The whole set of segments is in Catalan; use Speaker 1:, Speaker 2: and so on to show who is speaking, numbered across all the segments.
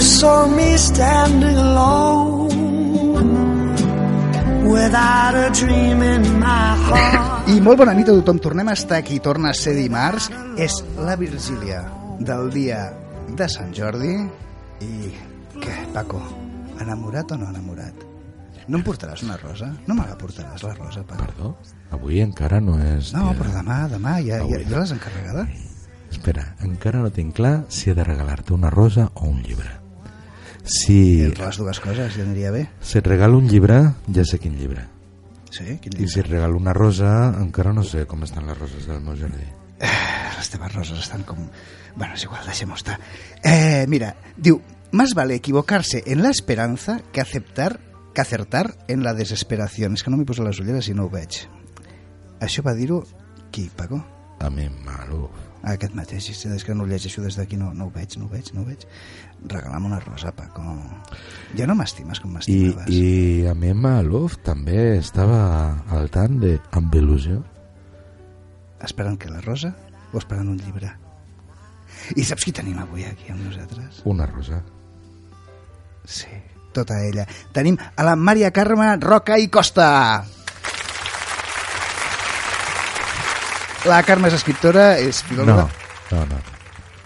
Speaker 1: saw me standing alone without a dream in my heart.
Speaker 2: I molt bona nit a tothom. Tornem a estar aquí, torna a ser dimarts. És la Virgília del dia de Sant Jordi. I què, Paco? Enamorat o no enamorat? No em portaràs una rosa? No me la portaràs, la rosa, Paco?
Speaker 3: Perdó? Avui encara no és...
Speaker 2: No,
Speaker 3: dia.
Speaker 2: però demà, demà, ja, ja, ja l'has encarregada?
Speaker 3: Espera, encara no tinc clar si he de regalar-te una rosa o un llibre. Si,
Speaker 2: I... Les dues coses ja aniria bé.
Speaker 3: si et regalo un llibre, ja sé quin llibre.
Speaker 2: Sí? Quin
Speaker 3: I si et regalo una rosa, encara no sé com estan les roses del meu jardí.
Speaker 2: les teves roses estan com... Bueno, és igual, deixem-ho estar. Eh, mira, diu, más vale equivocarse en la esperanza que aceptar que acertar en la desesperación. És que no m'hi poso les ulleres i no ho veig. Això va dir-ho qui, Paco? Ah,
Speaker 3: A mi, malo.
Speaker 2: Aquest mateix, si és que no ho llegeixo des d'aquí, no, no ho veig, no ho veig, no ho veig. Regala'm una rosa, Paco. Ja no m'estimes com
Speaker 3: I,
Speaker 2: m'estimaves.
Speaker 3: i a mi, Maluf també estava al tant de amb il·lusió.
Speaker 2: Esperant que la rosa o esperant un llibre? I saps qui tenim avui aquí amb nosaltres?
Speaker 3: Una rosa.
Speaker 2: Sí, tota ella. Tenim a la Maria Carme Roca i Costa. La Carme és escriptora, és filòloga...
Speaker 3: No, no, no.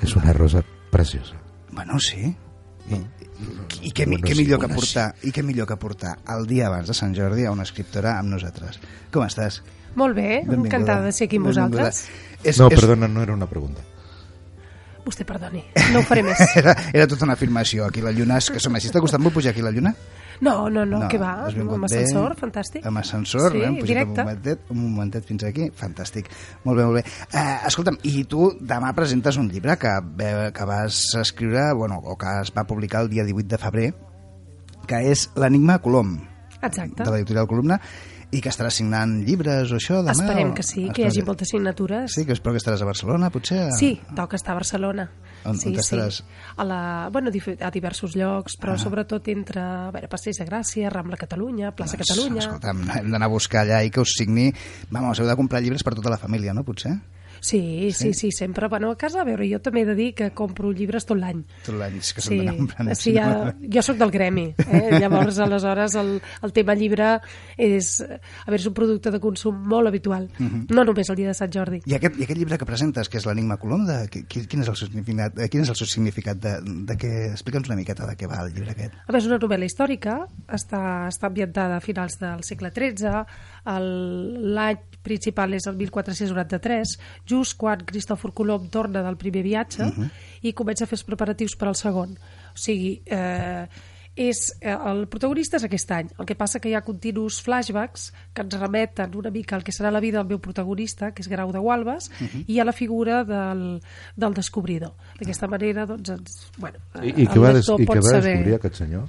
Speaker 3: És una rosa preciosa.
Speaker 2: Bueno, sí.
Speaker 3: No.
Speaker 2: I què, mi-
Speaker 3: Bueno,
Speaker 2: què
Speaker 3: sí,
Speaker 2: millor que
Speaker 3: bueno, sí.
Speaker 2: portar, i què millor que portar el dia abans de Sant Jordi a una escriptora amb nosaltres. Com estàs?
Speaker 4: Molt bé,
Speaker 2: Benvinguda.
Speaker 4: encantada de ser aquí amb
Speaker 2: Benvinguda.
Speaker 4: vosaltres.
Speaker 2: És,
Speaker 3: No,
Speaker 2: és-
Speaker 3: perdona, no era una pregunta.
Speaker 4: Vostè perdoni, no ho faré més.
Speaker 2: Era, era tota una afirmació. Aquí la lluna, és que som així. T'ha costat molt pujar aquí la lluna?
Speaker 4: No, no, no, no què va?
Speaker 2: has vingut
Speaker 4: Amb
Speaker 2: bé.
Speaker 4: ascensor, fantàstic.
Speaker 2: Amb ascensor,
Speaker 4: sí,
Speaker 2: eh? hem pujat amb
Speaker 4: directe.
Speaker 2: un momentet, un momentet fins aquí, fantàstic. Molt bé, molt bé. Uh, escolta'm, i tu demà presentes un llibre que, ve- que vas escriure, bueno, o que es va publicar el dia 18 de febrer, que és l'Enigma Colom,
Speaker 4: Exacte.
Speaker 2: de l'editorial Columna, i que estarà signant llibres o això demà? o...
Speaker 4: Esperem que sí, que hi hagi
Speaker 2: Espero
Speaker 4: moltes signatures.
Speaker 2: Sí, que espero que estaràs a Barcelona, potser?
Speaker 4: Sí, toca estar a Barcelona.
Speaker 2: On-
Speaker 4: sí,
Speaker 2: on estaràs?
Speaker 4: Sí. A, la, bueno, dif- a diversos llocs, però ah. sobretot entre a veure, Passeig de Gràcia, Rambla Catalunya, Plaça
Speaker 2: Doncs,
Speaker 4: Catalunya...
Speaker 2: Escolta'm, hem d'anar a buscar allà i que us signi... Vamos, heu de comprar llibres per tota la família, no, potser?
Speaker 4: Sí, sí, sí, sempre. Bueno, a casa, a veure, jo també he de dir que compro llibres tot l'any.
Speaker 2: Tot l'any, és que s'han
Speaker 4: Sí,
Speaker 2: d'anar comprant al
Speaker 4: sí
Speaker 2: cinema.
Speaker 4: ja, jo sóc del gremi, eh? llavors aleshores el, el tema llibre és, a veure, és un producte de consum molt habitual,
Speaker 2: Mhm.
Speaker 4: no només el dia de Sant Jordi.
Speaker 2: I aquest, I aquest llibre que presentes, que és l'Enigma Colom, de, qui- qui- quin, és el seu significat, eh, quin és el seu significat de, de què... Explica'ns una miqueta de què va el llibre aquest.
Speaker 4: A més, és una novel·la històrica, està, està ambientada a finals del segle XIII, el- l'any principal és el 1493, just quan Cristòfor Colom torna del primer viatge
Speaker 3: Mhm.
Speaker 4: i comença a fer els preparatius per al segon. O sigui, eh, és, eh, el protagonista és aquest any, el que passa que hi ha continus flashbacks que ens remeten una mica al que serà la vida del meu protagonista, que és Grau de Gualbes,
Speaker 3: Mhm.
Speaker 4: i a la figura del, del descobridor. D'aquesta manera, doncs, ens, bueno,
Speaker 3: I,
Speaker 4: eh,
Speaker 3: i què
Speaker 4: el
Speaker 3: va, des,
Speaker 4: lector
Speaker 3: i
Speaker 4: pot
Speaker 3: què va
Speaker 4: saber-
Speaker 3: descobrir aquest senyor?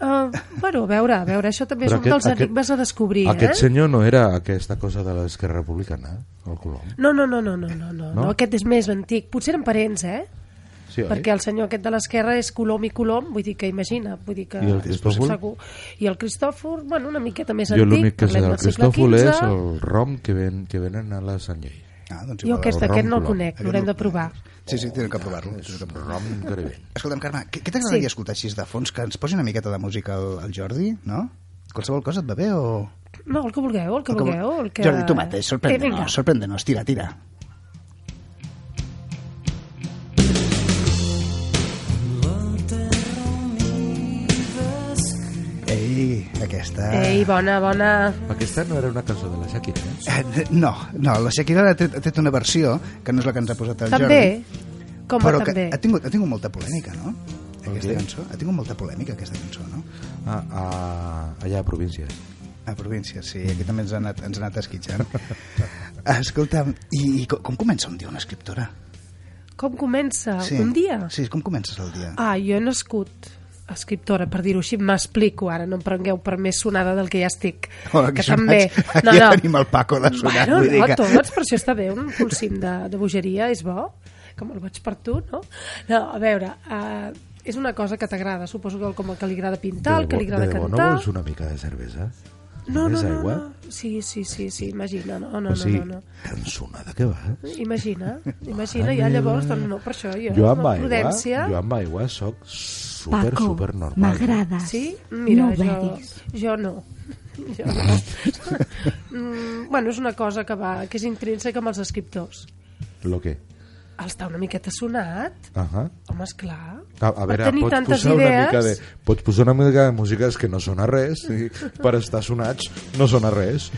Speaker 4: Uh, bueno, a veure, a veure, això també és
Speaker 3: Però
Speaker 4: un dels enigmes a descobrir,
Speaker 3: Aquest
Speaker 4: eh?
Speaker 3: senyor no era aquesta cosa de l'esquerra republicana, el Colom.
Speaker 4: No, no, no, no, no, no, no, no, aquest és més antic. Potser eren parents, eh?
Speaker 3: Sí, oi?
Speaker 4: Perquè el senyor aquest de l'esquerra és Colom i Colom, vull dir que imagina, vull dir que...
Speaker 3: I el Cristòfol?
Speaker 4: Segur. I el Cristòfor, bueno, una miqueta més
Speaker 3: jo
Speaker 4: antic,
Speaker 3: l'únic que sé del
Speaker 4: parlem del segle
Speaker 3: Cristòfol
Speaker 4: XV.
Speaker 3: és el rom que, ven, que venen a la Sant Llei.
Speaker 2: Ah, doncs
Speaker 4: Jo
Speaker 2: igual,
Speaker 4: aquest,
Speaker 3: el
Speaker 4: aquest no el
Speaker 3: Roncolom.
Speaker 4: conec, l'haurem de provar.
Speaker 2: Sí, sí, tenen que provar-lo.
Speaker 3: És un rom increïble.
Speaker 2: Escolta'm, Carme, què, què t'agradaria sí. escoltar així de fons? Que ens posi una miqueta de música al, al Jordi, no? Qualsevol cosa et va bé o...?
Speaker 4: No, el que vulgueu, el que
Speaker 2: o com-
Speaker 4: vulgueu, el que...
Speaker 2: Jordi, tu mateix,
Speaker 4: Eh, vinga.
Speaker 2: sorprèndenos, sorprèndenos, tira, tira. Ei, aquesta...
Speaker 4: Ei, Eh, bona, bona...
Speaker 3: Aquesta no era una cançó de la Shakira, eh?
Speaker 2: Eh, No, no, la Shakira ha tret, ha tret una versió que no és la que ens ha posat el
Speaker 4: També,
Speaker 2: Jordi.
Speaker 4: com
Speaker 2: però que
Speaker 4: també.
Speaker 2: ha tingut, ha tingut molta polèmica, no? Aquesta
Speaker 3: què?
Speaker 2: cançó. Ha tingut molta polèmica, aquesta cançó, no?
Speaker 3: A, a, Ah, allà a províncies.
Speaker 2: A província, sí, aquí també ens ha anat, ens ha anat esquitxant. Escolta'm, i, i com, com comença un dia una escriptora?
Speaker 4: Com comença? Ah, Un dia?
Speaker 2: Sí, com comences el dia?
Speaker 4: Ah, jo he nascut escriptora, per dir-ho així, m'explico ara, no em prengueu per més sonada del que ja estic.
Speaker 2: Hola, que sonats.
Speaker 4: No,
Speaker 2: Ja
Speaker 4: no.
Speaker 2: tenim el Paco de sonat,
Speaker 4: Bueno,
Speaker 2: vull dir
Speaker 4: no,
Speaker 2: que-
Speaker 4: tots, per això està bé, un polsim de, de bogeria és bo, com el vaig per tu, no? No, a veure, uh, és una cosa que t'agrada, suposo que com el que li agrada pintar, el
Speaker 3: de
Speaker 4: que li
Speaker 3: debò-
Speaker 4: agrada
Speaker 3: de debò,
Speaker 4: cantar...
Speaker 3: No vols una mica de cervesa?
Speaker 4: No, no,
Speaker 3: Només
Speaker 4: no,
Speaker 3: aigua?
Speaker 4: no. Sí, sí, sí, sí, imagina. No, no,
Speaker 3: o sigui,
Speaker 4: no, no, no.
Speaker 3: cançonada que va.
Speaker 4: Imagina, imagina, ja llavors, doncs no, per això jo,
Speaker 3: Jo amb
Speaker 4: la
Speaker 3: aigua,
Speaker 4: prudència...
Speaker 3: jo amb aigua soc super,
Speaker 5: Paco,
Speaker 3: super
Speaker 2: eh?
Speaker 3: normal.
Speaker 5: m'agrades.
Speaker 4: Sí? Mira,
Speaker 5: no ho
Speaker 4: jo,
Speaker 5: veris.
Speaker 4: jo no. Jo no. mm, bueno, és una cosa que va, que és intrínseca amb els escriptors.
Speaker 3: Lo que?
Speaker 4: Està una miqueta sonat,
Speaker 3: Uh -huh.
Speaker 4: home, esclar.
Speaker 3: A, a veure,
Speaker 4: tenir
Speaker 3: pots
Speaker 4: tantes
Speaker 3: posar una
Speaker 4: idees.
Speaker 3: mica de... Pots posar una mica de música és que no sona res i per estar sonats no sona res.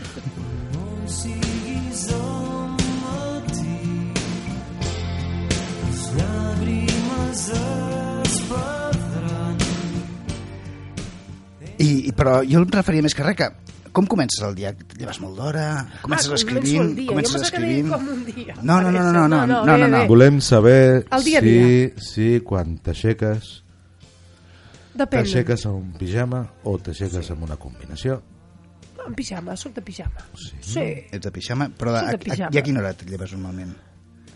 Speaker 2: I, i- però jo em referia més que res que com comences el dia? Et lleves molt d'hora? Comences
Speaker 4: Ah, començo
Speaker 2: escrivint?
Speaker 4: el dia. Jo
Speaker 2: Comences
Speaker 4: pensava que deia
Speaker 2: escrivint?
Speaker 4: com un dia.
Speaker 2: No, no, no, no, no, no, no, no,
Speaker 4: bé,
Speaker 2: no.
Speaker 4: bé.
Speaker 3: Volem saber
Speaker 4: El dia a
Speaker 3: si, si quan t'aixeques
Speaker 4: Depèn.
Speaker 3: t'aixeques amb un pijama o t'aixeques amb una combinació.
Speaker 4: En pijama, soc de pijama.
Speaker 3: Sí.
Speaker 4: Sí.
Speaker 2: Ets de pijama? Però a,
Speaker 4: Soc de
Speaker 2: a,
Speaker 4: pijama.
Speaker 2: i a quina hora et lleves normalment?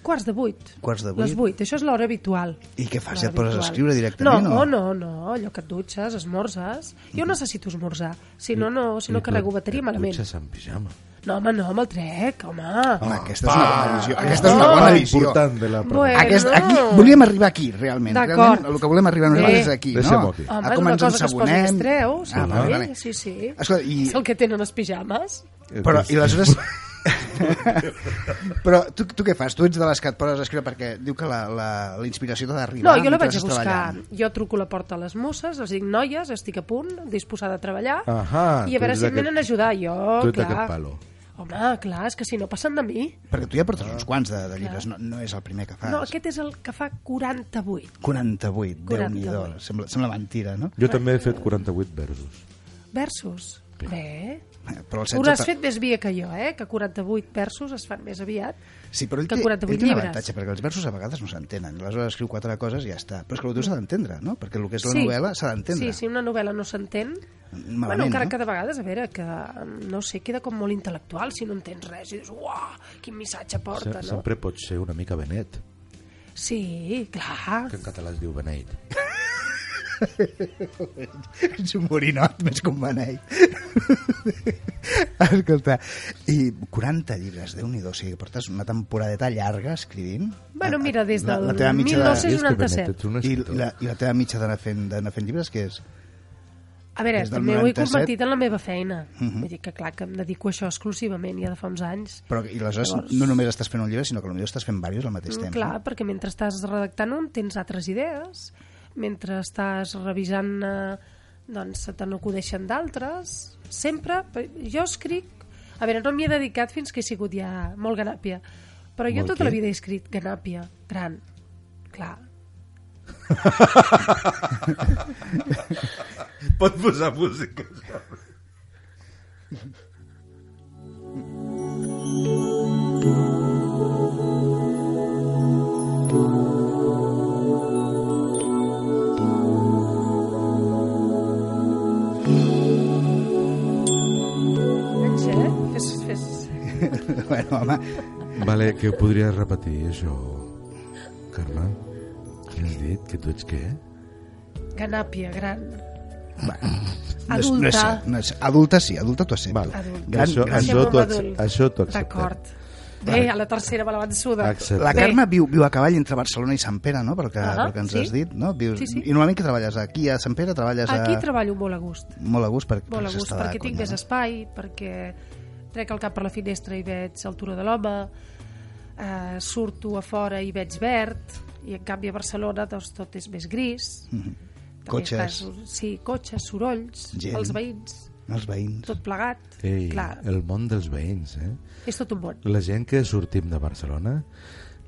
Speaker 4: Quarts de vuit.
Speaker 2: Quarts de
Speaker 4: Les vuit. Això és l'hora habitual.
Speaker 2: I què fas?
Speaker 4: L'hora
Speaker 2: Ja et poses a
Speaker 4: habitual.
Speaker 2: escriure directament?
Speaker 4: No,
Speaker 2: o?
Speaker 4: no, no, no. Allò que et dutxes, esmorzes... Jo necessito esmorzar. Si no, no, si no carrego bateria malament.
Speaker 3: eh, Dutxes amb pijama.
Speaker 4: No, home, no, amb el trec, home.
Speaker 2: Home, aquesta és una bona visió. Aquesta és
Speaker 4: no.
Speaker 2: una bona
Speaker 3: Part
Speaker 2: visió.
Speaker 3: Ah, important de la pregunta.
Speaker 4: Oh! Bueno.
Speaker 2: Aquest,
Speaker 4: no.
Speaker 2: aquí, volíem arribar aquí, realment.
Speaker 4: D'acord.
Speaker 2: realment el que volem arribar nosaltres
Speaker 4: Bé.
Speaker 2: és aquí,
Speaker 3: Deixem-ho
Speaker 2: no?
Speaker 3: aquí.
Speaker 4: Home,
Speaker 2: a
Speaker 4: és
Speaker 2: Ah, com
Speaker 4: una
Speaker 2: ens
Speaker 4: cosa que es posa i es
Speaker 2: ensabonem.
Speaker 4: treu. Sí,
Speaker 2: Ah, vale, vale.
Speaker 4: sí, sí.
Speaker 2: Escolta, i-
Speaker 4: És el que tenen les pijames.
Speaker 3: Eh,
Speaker 2: Però, i aleshores... però tu, tu què fas? Tu ets de les que et poses a escriure perquè diu que la, la, la inspiració t'ha
Speaker 4: No,
Speaker 2: d'arribar
Speaker 4: jo la
Speaker 2: mentre
Speaker 4: vaig a
Speaker 2: estàs
Speaker 4: buscar.
Speaker 2: treballant.
Speaker 4: Jo truco la porta a les mosses, els dic, noies, estic a punt, disposada a treballar,
Speaker 3: Ahà,
Speaker 4: i a
Speaker 3: tu
Speaker 4: veure
Speaker 3: ets
Speaker 4: si em
Speaker 3: d'aquest-
Speaker 4: venen a ajudar. Jo,
Speaker 3: tu ets
Speaker 4: clar.
Speaker 3: d'aquest palo.
Speaker 4: Home, clar, és que si no passen de mi.
Speaker 2: Perquè tu ja portes uns quants de, de llibres, no, no Ah, és el primer que fas.
Speaker 4: No, aquest és el que fa 48.
Speaker 2: 48, 48. Déu-n'hi-do.
Speaker 4: 48.
Speaker 2: Sembla, sembla mentira, no?
Speaker 3: Jo també he fet 48 versos.
Speaker 4: Versos. Bé.
Speaker 2: Però el
Speaker 4: Tu l'has
Speaker 2: ta-
Speaker 4: fet més via que jo, eh? Que 48 versos es fan més aviat.
Speaker 2: Sí, però ell
Speaker 4: que
Speaker 2: té,
Speaker 4: 48
Speaker 2: ell té un
Speaker 4: llibres.
Speaker 2: avantatge, perquè els versos a vegades no s'entenen. Aleshores escriu quatre coses i ja està. Però és que el teu s'ha d'entendre, no? Perquè el que és la novel·la s'ha d'entendre.
Speaker 4: Sí, sí, una novel·la no s'entén.
Speaker 2: Malament,
Speaker 4: Bueno, encara
Speaker 2: no?
Speaker 4: que de vegades, a veure, que no sé, queda com molt intel·lectual si no entens res i dius, uah, quin missatge
Speaker 3: Se
Speaker 4: porta, no?
Speaker 3: sempre pot ser una mica Benet,
Speaker 4: Sí, clar.
Speaker 3: que en català es diu Beneit.
Speaker 2: Ets un borinot més que un beneit. Escolta, i 40 llibres, déu nhi o sigui, portes una temporadeta llarga escrivint.
Speaker 4: Bueno, mira, des
Speaker 2: Ah, La-
Speaker 4: del
Speaker 2: la teva mitja de-
Speaker 4: 1997.
Speaker 3: ets un
Speaker 2: I
Speaker 3: escriptor.
Speaker 2: la, I la teva mitja d'anar fent, d'anar fent llibres, què és?
Speaker 4: A veure,
Speaker 2: eh, Des del Mhm.
Speaker 4: també ho he
Speaker 2: 97.
Speaker 4: convertit en la meva feina. Vull dir que, clar, que em dedico a això exclusivament ja de fa uns anys.
Speaker 2: Però, I aleshores no només estàs fent un llibre, sinó que potser estàs fent diversos al mateix temps.
Speaker 4: Mm, Clar, perquè mentre estàs redactant un tens altres idees, mentre estàs revisant eh, doncs se te n'acudeixen d'altres, sempre, jo escric, a veure, no m'hi he dedicat fins que he sigut ja molt ganàpia, però jo
Speaker 3: Molt
Speaker 4: tota la
Speaker 3: què?
Speaker 4: vida he escrit ganàpia, gran, clar.
Speaker 3: Pot posar música.
Speaker 4: Veig, eh? Fes, fes.
Speaker 2: bueno, home,
Speaker 3: Vale, que ho podries repetir, això, Carme? Què has dit? Que tu ets què?
Speaker 4: Ganàpia, gran.
Speaker 2: no és, no és,
Speaker 4: Adulta.
Speaker 2: cert, no és, adulta sí, adulta t'ho accepto.
Speaker 3: Vale.
Speaker 4: Adult.
Speaker 2: Gran,
Speaker 3: això,
Speaker 2: gran.
Speaker 3: això,
Speaker 4: Sembla
Speaker 3: t'ho
Speaker 4: un
Speaker 3: ac-
Speaker 4: adult.
Speaker 3: això t'ho acceptem.
Speaker 4: D'acord. Bé, a la tercera me la van sudar.
Speaker 3: Acceptem.
Speaker 2: La
Speaker 4: Bé.
Speaker 2: Carme viu, viu a cavall entre Barcelona i Sant Pere, no? Pel que,
Speaker 4: Ah,
Speaker 2: pel que ens
Speaker 4: sí.
Speaker 2: has dit, no? Vius,
Speaker 4: Sí, sí.
Speaker 2: I normalment que treballes aquí a Sant Pere, treballes
Speaker 4: Aquí
Speaker 2: a...
Speaker 4: treballo molt a gust.
Speaker 2: Molt a gust, per,
Speaker 4: Molt a
Speaker 2: per
Speaker 4: gust,
Speaker 2: s'està de
Speaker 4: perquè tinc
Speaker 2: conya,
Speaker 4: més espai, perquè trec el cap per la finestra i veig el turó de l'home, eh, surto a fora i veig verd, i en canvi a Barcelona doncs, tot és més gris. Mm -hmm.
Speaker 2: Mhm. Cotxes.
Speaker 4: sí, cotxes, sorolls,
Speaker 2: Gent.
Speaker 4: els veïns,
Speaker 2: No? Els veïns.
Speaker 4: tot plegat.
Speaker 3: Ei,
Speaker 4: Clar,
Speaker 3: el món dels veïns, eh?
Speaker 4: és tot un món.
Speaker 3: La gent que sortim de Barcelona,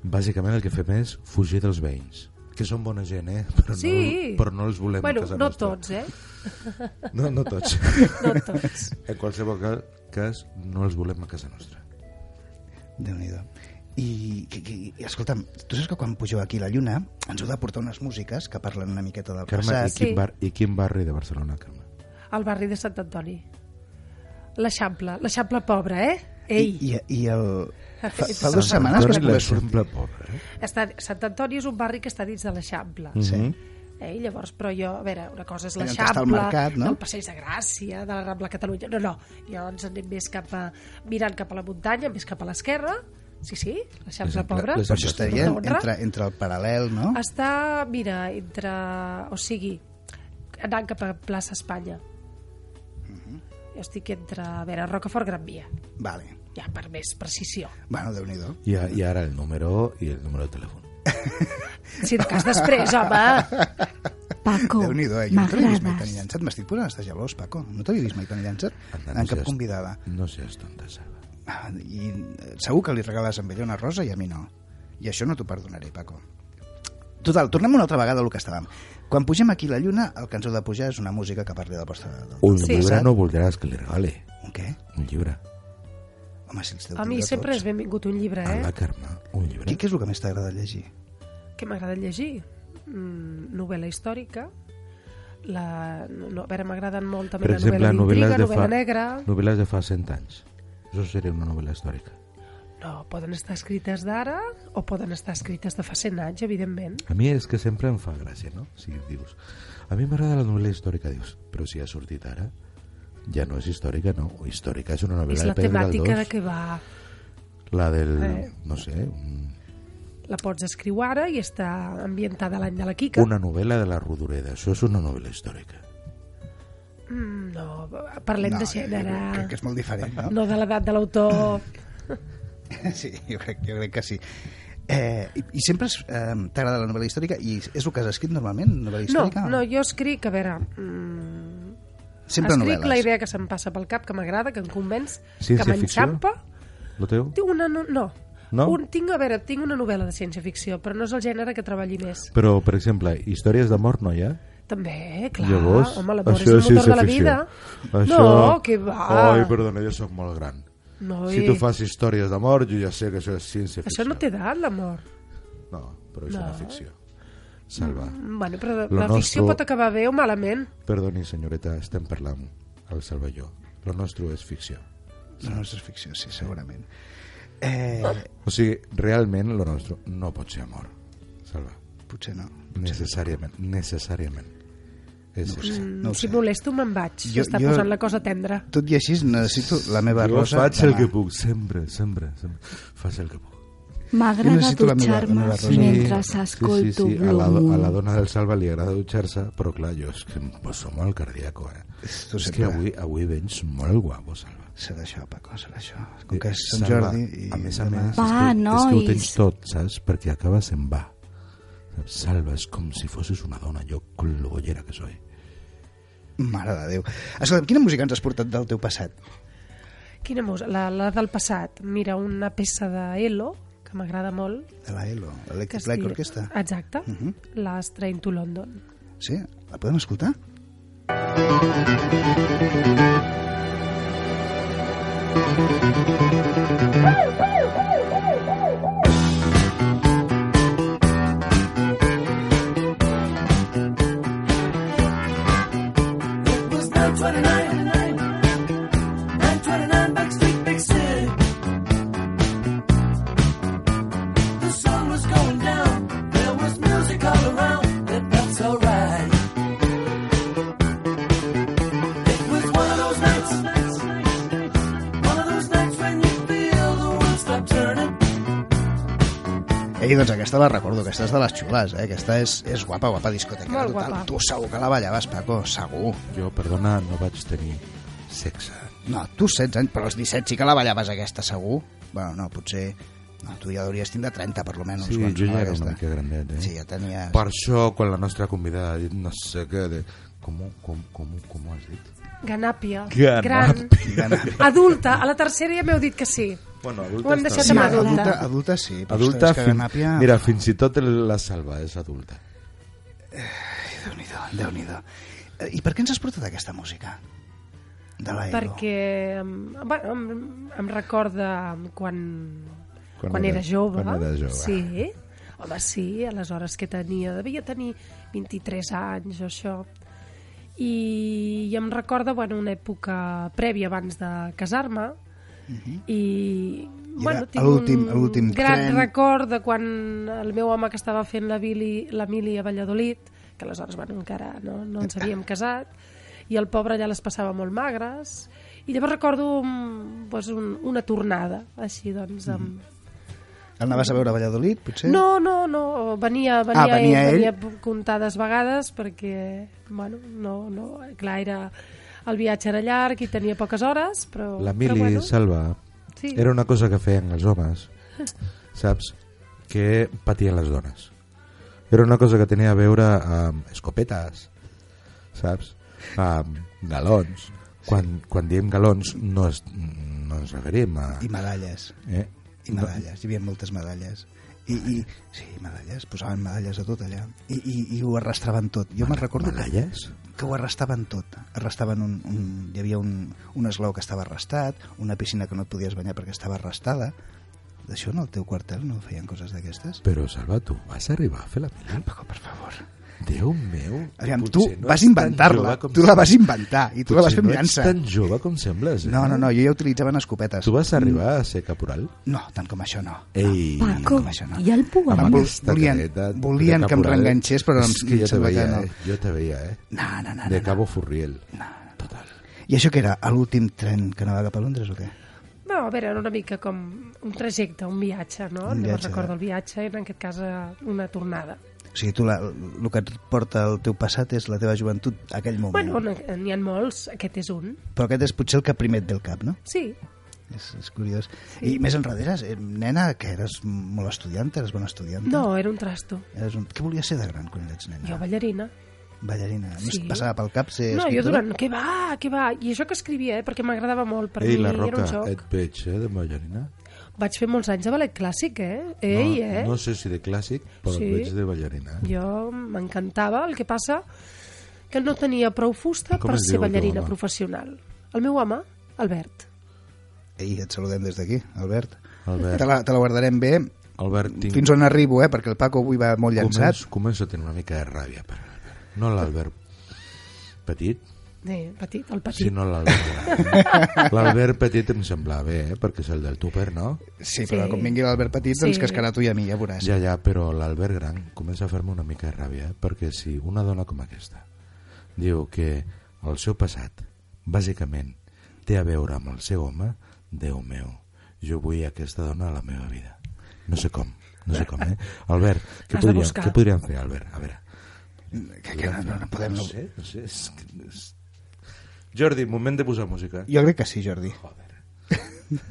Speaker 3: bàsicament el que fem és fugir dels veïns que són bona gent, eh? Però,
Speaker 4: Sí.
Speaker 3: no, però no els volem
Speaker 4: Bueno,
Speaker 3: a casa
Speaker 4: no
Speaker 3: nostra.
Speaker 4: tots, eh?
Speaker 3: No, no tots.
Speaker 4: No tots.
Speaker 3: En qualsevol ca- cas, no els volem a casa nostra.
Speaker 2: Déu-n'hi-do. I, que, que, i, escolta'm, tu saps que quan pugeu aquí a la Lluna ens heu de portar unes músiques que parlen una miqueta del
Speaker 3: Carme, i,
Speaker 2: passat.
Speaker 4: Sí.
Speaker 3: quin bar, i quin barri de Barcelona, Carme?
Speaker 4: Al barri de Sant Antoni. L'Eixample, l'Eixample pobre, eh? Ei!
Speaker 2: I, i, i el... Fa, fa
Speaker 4: Sant
Speaker 2: dues
Speaker 3: Doncs
Speaker 2: setmanes que es
Speaker 3: Antoni
Speaker 2: pogués sortir.
Speaker 3: l'exemple pobre. eh? Mhm.
Speaker 4: Està, Sant Antoni és un barri que està dins de l'Eixample.
Speaker 2: Sí.
Speaker 4: Eh? I llavors, però jo, a veure, una cosa és
Speaker 2: Allà on està el
Speaker 4: l'Eixample,
Speaker 2: mercat, no?
Speaker 4: del Passeig de Gràcia, de la Rambla Catalunya... No, no, jo ens anem més cap a... mirant cap a la muntanya, més cap a l'esquerra, sí, sí, l'Eixample
Speaker 3: Les-
Speaker 4: pobre.
Speaker 3: les-
Speaker 2: Per això estaria
Speaker 4: Una honra.
Speaker 2: entre, entre el paral·lel, no?
Speaker 4: Està, mira, entre... O sigui, anant cap a plaça Espanya.
Speaker 2: Mhm.
Speaker 4: Jo estic entre, a veure, Rocafort Gran Via,
Speaker 2: Vale.
Speaker 4: ja per més precisió.
Speaker 2: Bueno, déu nhi
Speaker 3: I, a- I ara el número i el número de telèfon.
Speaker 4: Si de cas després, home,
Speaker 5: Paco,
Speaker 2: déu nhi eh? Jo no t'havia vist mai tan
Speaker 5: m'agrades.
Speaker 2: llançat. M'estic posant a estar gelós, Paco. No t'havia vist mai tan llançat en cap
Speaker 3: seas-
Speaker 2: convidada.
Speaker 3: No seas tonta, Saba.
Speaker 2: Ah, I eh, segur que li regales a ella una rosa i a mi no. I això no t'ho perdonaré, Paco. Total, tornem una altra vegada al que estàvem. Quan pugem aquí a la lluna, el que ens heu de pujar és una música que parli de la vostra... Del...
Speaker 3: Un
Speaker 4: Sí.
Speaker 3: llibre no voldràs que li regale.
Speaker 2: Un què?
Speaker 3: Un llibre.
Speaker 4: Eh?
Speaker 2: Home, si els deu
Speaker 4: a mi
Speaker 2: treure
Speaker 4: sempre és
Speaker 2: tots.
Speaker 4: benvingut un llibre,
Speaker 3: A la
Speaker 4: eh?
Speaker 3: Carme, un llibre.
Speaker 2: Què, què és el que més t'agrada llegir?
Speaker 4: Què m'agrada llegir? Mm, novel·la històrica, la, no, no, a veure, m'agraden molt també
Speaker 3: Per
Speaker 4: la novel·la
Speaker 3: exemple,
Speaker 4: d'intriga,
Speaker 3: novel·les de,
Speaker 4: novel·la
Speaker 3: fa,
Speaker 4: negra...
Speaker 3: novel·les de fa 100 anys. Això seria una novel·la històrica.
Speaker 4: No, poden estar escrites d'ara o poden estar escrites de fa 100 anys, evidentment.
Speaker 3: A mi és que sempre em fa gràcia, no? Si dius, a mi m'agrada la novel·la històrica, dius, però si ha sortit ara, ja no és històrica, no. O històrica és una novel·la
Speaker 4: És la
Speaker 3: de Pedro
Speaker 4: temàtica de
Speaker 3: Galdós.
Speaker 4: què va...
Speaker 3: La del,
Speaker 4: Eh.
Speaker 3: no sé, un,
Speaker 4: La pots escriure ara i està ambientada a l'any de la Quica.
Speaker 3: una novel·la de la Rodoreda. Això és una novel·la històrica.
Speaker 4: Mm, no, parlem de gènere,
Speaker 2: jo Crec que és molt diferent, no?
Speaker 4: no de l'edat de l'autor.
Speaker 2: Sí, jo crec, jo crec que sí. Eh, i, I sempre és, eh, t'agrada la novel·la històrica? I és el que has escrit normalment, novel·la
Speaker 4: No,
Speaker 2: històrica?
Speaker 4: no, jo escric, a veure... Mm,
Speaker 2: Sempre
Speaker 4: escric
Speaker 2: novel·les.
Speaker 4: la idea que se'm passa pel cap, que m'agrada, que em convenç, que
Speaker 3: Ciència-ficció?
Speaker 4: m'enxampa.
Speaker 3: Lo teu?
Speaker 4: Tinc una... No, no.
Speaker 3: No?
Speaker 4: Un, tinc, a veure, tinc una novel·la de ciència-ficció, però no és el gènere que treballi més.
Speaker 3: Però, per exemple, històries d'amor no hi ha?
Speaker 4: També, clar.
Speaker 3: Llavors,
Speaker 4: home, l'amor és
Speaker 3: això
Speaker 4: el motor de la
Speaker 3: ciència-ficció.
Speaker 4: vida.
Speaker 3: Això...
Speaker 4: No, que va.
Speaker 3: Ai, perdona, jo sóc molt gran.
Speaker 4: Noi,
Speaker 3: Si tu fas històries d'amor, jo ja sé que això és ciència-ficció.
Speaker 4: Això no té edat, l'amor.
Speaker 3: No, però és
Speaker 4: No.
Speaker 3: una ficció. Salva.
Speaker 4: Bueno, però
Speaker 3: Lo
Speaker 4: la ficció
Speaker 3: nostro-
Speaker 4: pot acabar bé o malament.
Speaker 3: Perdoni, senyoreta, estem parlant al Salva i jo. Lo nostre és ficció.
Speaker 2: La nostra és ficció, sí, segurament. Eh,
Speaker 3: O sigui, realment, lo nostre no pot ser amor. Salva.
Speaker 2: potser no.
Speaker 3: Necessàriament. Necessàriament. És no
Speaker 2: sé. No ho
Speaker 4: Mm, si
Speaker 2: sé.
Speaker 4: molesto, me'n vaig.
Speaker 2: Jo-
Speaker 4: S'està
Speaker 2: jo-
Speaker 4: posant la cosa tendra.
Speaker 2: Tot i així, necessito la meva
Speaker 3: Jo
Speaker 2: rosa
Speaker 3: faig el
Speaker 2: demà.
Speaker 3: que puc, sempre, sempre, sempre. Faig el que puc.
Speaker 2: Jo
Speaker 5: M'agrada
Speaker 2: necessito la meva- la
Speaker 5: dutxar-me
Speaker 2: meva rosa.
Speaker 5: mentre escolto
Speaker 3: sí, sí, sí. A, la,
Speaker 5: Blue
Speaker 3: do- a la
Speaker 5: Moon.
Speaker 3: dona del Salva li agrada dutxar-se, però clar, jo és que em poso molt cardíaco, eh?
Speaker 2: Tu
Speaker 3: és
Speaker 2: sempre.
Speaker 3: que avui, avui vens molt guapo, Salva.
Speaker 2: Serà això, Paco, serà això. Com que és Sant
Speaker 3: Salva,
Speaker 2: Jordi... I
Speaker 3: Eh, a més a
Speaker 2: demà-
Speaker 3: més,
Speaker 5: Va,
Speaker 3: és, que, és que ho
Speaker 5: nois.
Speaker 3: tens tot, saps? Perquè acabes en va. Saps? Salva, és com si fossis una dona, jo con lo gollera que soy.
Speaker 2: Mare de Déu. Escolta, quina música ens has portat del teu passat?
Speaker 4: Quina música? La, la del passat. Mira, una peça d'Elo, que m'agrada molt.
Speaker 2: De la ELO,
Speaker 4: que
Speaker 2: Electric
Speaker 4: es
Speaker 2: Light
Speaker 4: diu-
Speaker 2: Orchestra.
Speaker 4: Exacte. Uh
Speaker 2: Mhm.
Speaker 4: -huh. La Strain to London.
Speaker 2: Sí? La podem escoltar?
Speaker 1: It was 929, 929 Backstreet Big City. The sun was going down, there was music all around, but that's alright. It was one of those nights, one of those nights when you feel the world stop turning.
Speaker 2: Ei, doncs aquesta la recordo, aquesta és de les xules, eh? Aquesta és, és guapa, guapa discoteca.
Speaker 4: Molt
Speaker 2: total.
Speaker 4: guapa.
Speaker 2: Tu segur que la ballaves, Paco, segur.
Speaker 3: Jo, perdona, no vaig tenir sexe.
Speaker 2: No, tu 16 anys, però als 17 sí que la ballaves aquesta, segur. Bueno, no, potser... No, tu ja hauries tindre 30, per lo menos.
Speaker 3: Sí,
Speaker 2: quan
Speaker 3: jo ja
Speaker 2: sonava
Speaker 3: era una
Speaker 2: aquesta.
Speaker 3: mica grandet, eh?
Speaker 2: Sí, ja tenies...
Speaker 3: Per això, quan la nostra convidada ha dit no sé què... De... Com, ho- com, com, ho- com ho has dit?
Speaker 4: Ganàpia.
Speaker 3: Ganàpia.
Speaker 4: Gran. Adulta. A la tercera ja m'heu dit que sí.
Speaker 3: Bueno,
Speaker 4: Ho hem deixat
Speaker 2: Sí,
Speaker 4: amb
Speaker 2: adulta.
Speaker 4: adulta.
Speaker 2: adulta, adulta sí. Però
Speaker 3: Adulta,
Speaker 2: ostres, que
Speaker 3: fin...
Speaker 2: Ganàpia...
Speaker 3: mira, fins i tot la Salva és adulta.
Speaker 4: Oh,
Speaker 2: Déu-n'hi-do, déu nhi déu I per què ens has portat aquesta música? De l'Aero.
Speaker 4: perquè em, bueno, em, em recorda quan, quan, quan era, jove.
Speaker 3: quan era jove.
Speaker 4: Sí, home, sí, aleshores que tenia, devia tenir 23 anys o això. I, i em recorda bueno, una època prèvia abans de casar-me, i,
Speaker 2: I
Speaker 4: bueno,
Speaker 2: era
Speaker 4: tinc
Speaker 2: l'últim- l'últim
Speaker 4: un gran
Speaker 2: tren.
Speaker 4: record de quan el meu home que estava fent la Billy, la Mili a Valladolid, que aleshores bueno, encara no, no ens havíem casat, i el pobre ja les passava molt magres, i llavors recordo un, doncs, un, una tornada, així, doncs, amb,
Speaker 2: Mm-hmm. El anaves a veure a Valladolid, potser?
Speaker 4: no, no, no, venia, venia,
Speaker 2: Ah, venia
Speaker 4: ell,
Speaker 2: ell.
Speaker 4: venia comptades vegades perquè, bueno, no, no, clar, era, el viatge era llarg i tenia poques hores, però...
Speaker 3: La
Speaker 4: però
Speaker 3: mili,
Speaker 4: bueno,
Speaker 3: Salva,
Speaker 4: Sí.
Speaker 3: era una cosa que feien els homes, saps? Que patien les dones. Era una cosa que tenia a veure amb escopetes, saps? Amb galons. Quan, quan diem galons no, es, no ens referim a...
Speaker 2: I medalles.
Speaker 3: Eh?
Speaker 2: I medalles, hi havia moltes medalles. I, i, sí, medalles, posaven medalles a tot allà. I, i, i ho arrastraven tot. Jo me'n recordo que,
Speaker 3: Medalles?
Speaker 2: que ho arrastaven tot. Arrastaven un, un, hi havia un, un esglau que estava arrestat, una piscina que no et podies banyar perquè estava arrestada. D'això no, al teu quartel no feien coses d'aquestes?
Speaker 3: Però, Salva, tu vas arribar a fer la mili?
Speaker 2: Paco, per favor.
Speaker 3: Déu meu!
Speaker 2: Aviam, tu
Speaker 3: potser no
Speaker 2: vas
Speaker 3: ets tan
Speaker 2: inventar-la,
Speaker 3: jove com
Speaker 2: tu la vas inventar i tu la vas
Speaker 3: Potser
Speaker 2: fer amb llança.
Speaker 3: No ets tan jove com sembles, eh?
Speaker 2: No, no, no, jo ja utilitzaven escopetes.
Speaker 3: Tu vas arribar a ser caporal?
Speaker 2: No, tant com això no.
Speaker 3: Ei,
Speaker 5: Paco,
Speaker 2: Ah, com això no.
Speaker 5: ja el puc
Speaker 2: Home,
Speaker 5: anar.
Speaker 2: Em vol-
Speaker 3: aquesta
Speaker 2: volien-
Speaker 3: careta,
Speaker 2: volien
Speaker 3: de
Speaker 2: que em
Speaker 3: caporal.
Speaker 2: reenganxés, però em-
Speaker 3: És que
Speaker 2: em
Speaker 3: jo te
Speaker 2: sembla que
Speaker 3: veia,
Speaker 2: no.
Speaker 3: eh? Jo te veia, eh?
Speaker 2: No, no, no.
Speaker 3: De
Speaker 2: no.
Speaker 3: Cabo Furriel. Total.
Speaker 2: I això que era, a l'últim tren que anava cap a Londres o què?
Speaker 4: No, a veure, era una mica com un trajecte, un viatge, no?
Speaker 2: Un viatge.
Speaker 4: Un viatge.
Speaker 3: eh?
Speaker 4: recordo el viatge, era en aquest cas eh, una tornada.
Speaker 2: O sigui, tu la, el que et porta el teu passat és la teva joventut, aquell moment.
Speaker 4: Bueno, n- n'hi ha molts, aquest és un.
Speaker 2: Però aquest és potser el que primer et ve al cap, no?
Speaker 4: Sí,
Speaker 2: És, és curiós. I més enrere, eres, eh, nena, que eres molt estudiant, eres bona estudiant.
Speaker 4: no, era un trasto.
Speaker 2: Eres un... Què volies ser de gran quan eres nena?
Speaker 4: Jo ballarina.
Speaker 2: Ballarina. No
Speaker 4: Sí.
Speaker 2: et passava pel cap ser
Speaker 4: No, jo
Speaker 2: escriptora?
Speaker 4: durant... Què va, què va? I això que escrivia, eh? Perquè m'agradava molt, per
Speaker 3: Ei,
Speaker 4: mi
Speaker 3: la
Speaker 4: era
Speaker 3: Roca,
Speaker 4: un joc.
Speaker 3: et veig, eh, de ballarina?
Speaker 4: Vaig fer molts anys de ballet clàssic, eh? Ei,
Speaker 3: no,
Speaker 4: eh?
Speaker 3: No sé si de clàssic, però
Speaker 4: Sí.
Speaker 3: et veig de ballarina. eh?
Speaker 4: Jo m'encantava, el que passa que no tenia prou fusta
Speaker 3: Com
Speaker 4: per
Speaker 3: es
Speaker 4: ser
Speaker 3: diu el teu
Speaker 4: ballarina
Speaker 3: home?
Speaker 4: professional. El meu home, Albert.
Speaker 2: Ei, et saludem des d'aquí, Albert.
Speaker 3: Albert.
Speaker 2: Te la, te la guardarem bé
Speaker 3: Albert, tinc...
Speaker 2: fins on arribo, eh? Perquè el Paco avui va molt llançat.
Speaker 3: Començo, començo a tenir una mica de ràbia per l'Albert. No l'Albert petit,
Speaker 4: Eh, petit, el petit.
Speaker 3: sinó l'Albert gran. L'Albert petit em sembla bé, eh? perquè és el del tupper, no?
Speaker 2: Sí, però
Speaker 4: Sí.
Speaker 2: com vingui l'Albert Petit, doncs
Speaker 4: Sí.
Speaker 2: que cascarà tu i a mi, ja veuràs.
Speaker 3: Ja, ja, però l'Albert Gran comença a fer-me una mica de ràbia, eh? perquè si una dona com aquesta diu que el seu passat, bàsicament, té a veure amb el seu home, Déu meu, jo vull aquesta dona a la meva vida. No sé com, no sé com, eh? Albert, què,
Speaker 4: Has de
Speaker 3: podríem,
Speaker 4: buscar.
Speaker 3: què podríem fer, Albert? A veure.
Speaker 2: Que, que no, no, no podem...
Speaker 3: No sé, no sé. És... que- és- Jordi, moment de posar música.
Speaker 2: Jo crec que sí, Jordi.
Speaker 3: Joder.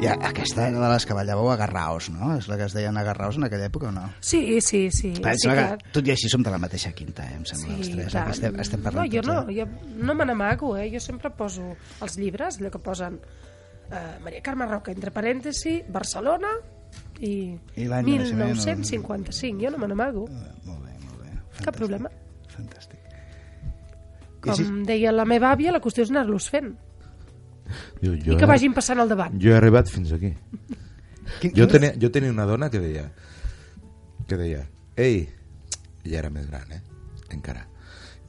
Speaker 2: Ja, aquesta era de les que ballàveu a Garraus, no? És la que es deien a Garraus en aquella època o no?
Speaker 4: Sí, sí, sí.
Speaker 2: Clar, em
Speaker 4: sí,
Speaker 2: sembla que,
Speaker 4: clar.
Speaker 2: tot i així som de la mateixa quinta, eh? em sembla, els tres. eh, que Estem, estem parlant
Speaker 4: no, jo
Speaker 2: tots,
Speaker 4: no,
Speaker 2: eh?
Speaker 4: jo no me n'amago, eh? jo sempre poso els llibres, allò que posen eh, Maria Carme Roca, entre parèntesi, Barcelona i,
Speaker 2: I l'any de naixement,
Speaker 4: 1955, jo no me n'amago,
Speaker 2: Eh, Molt bé, molt bé. Fantàstic.
Speaker 4: cap problema.
Speaker 2: Fantàstic. I així-
Speaker 4: Com deia la meva àvia, la qüestió és anar-los fent
Speaker 3: Jo,
Speaker 4: i que vagin passant al davant.
Speaker 3: Jo he arribat fins aquí.
Speaker 2: Quin-
Speaker 3: Jo tenia, jo tenia una dona que deia que deia, ei ja era més gran, eh? Encara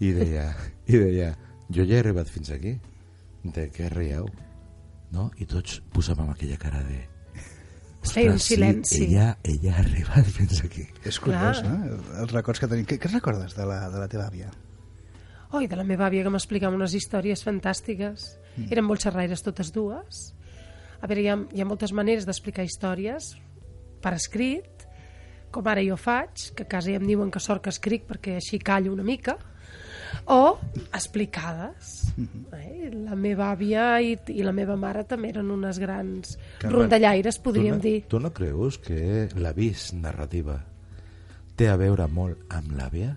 Speaker 3: i deia, i deia jo ja he arribat fins aquí de què rieu? No? I tots posàvem aquella cara de
Speaker 4: Feia un
Speaker 3: "Ostres, sí,
Speaker 4: silenci.
Speaker 3: ella, ella ha arribat fins aquí
Speaker 2: És curiós,
Speaker 4: Clar.
Speaker 2: no? Els records que tenim. Què, què recordes de la, de la teva àvia?
Speaker 4: Oi, de la meva àvia que m'explicava unes històries fantàstiques. Mm. Eren molt xerraires totes dues. A veure, hi ha, hi ha moltes maneres d'explicar històries per escrit, com ara jo faig, que a casa ja em diuen que sort que escric perquè així callo una mica, o explicades. Eh? La meva àvia i, i la meva mare també eren unes grans
Speaker 3: Carmen,
Speaker 4: rondallaires,
Speaker 3: tu
Speaker 4: podríem
Speaker 3: no,
Speaker 4: dir.
Speaker 3: Tu no creus que l'avís narrativa té a veure molt amb l'àvia?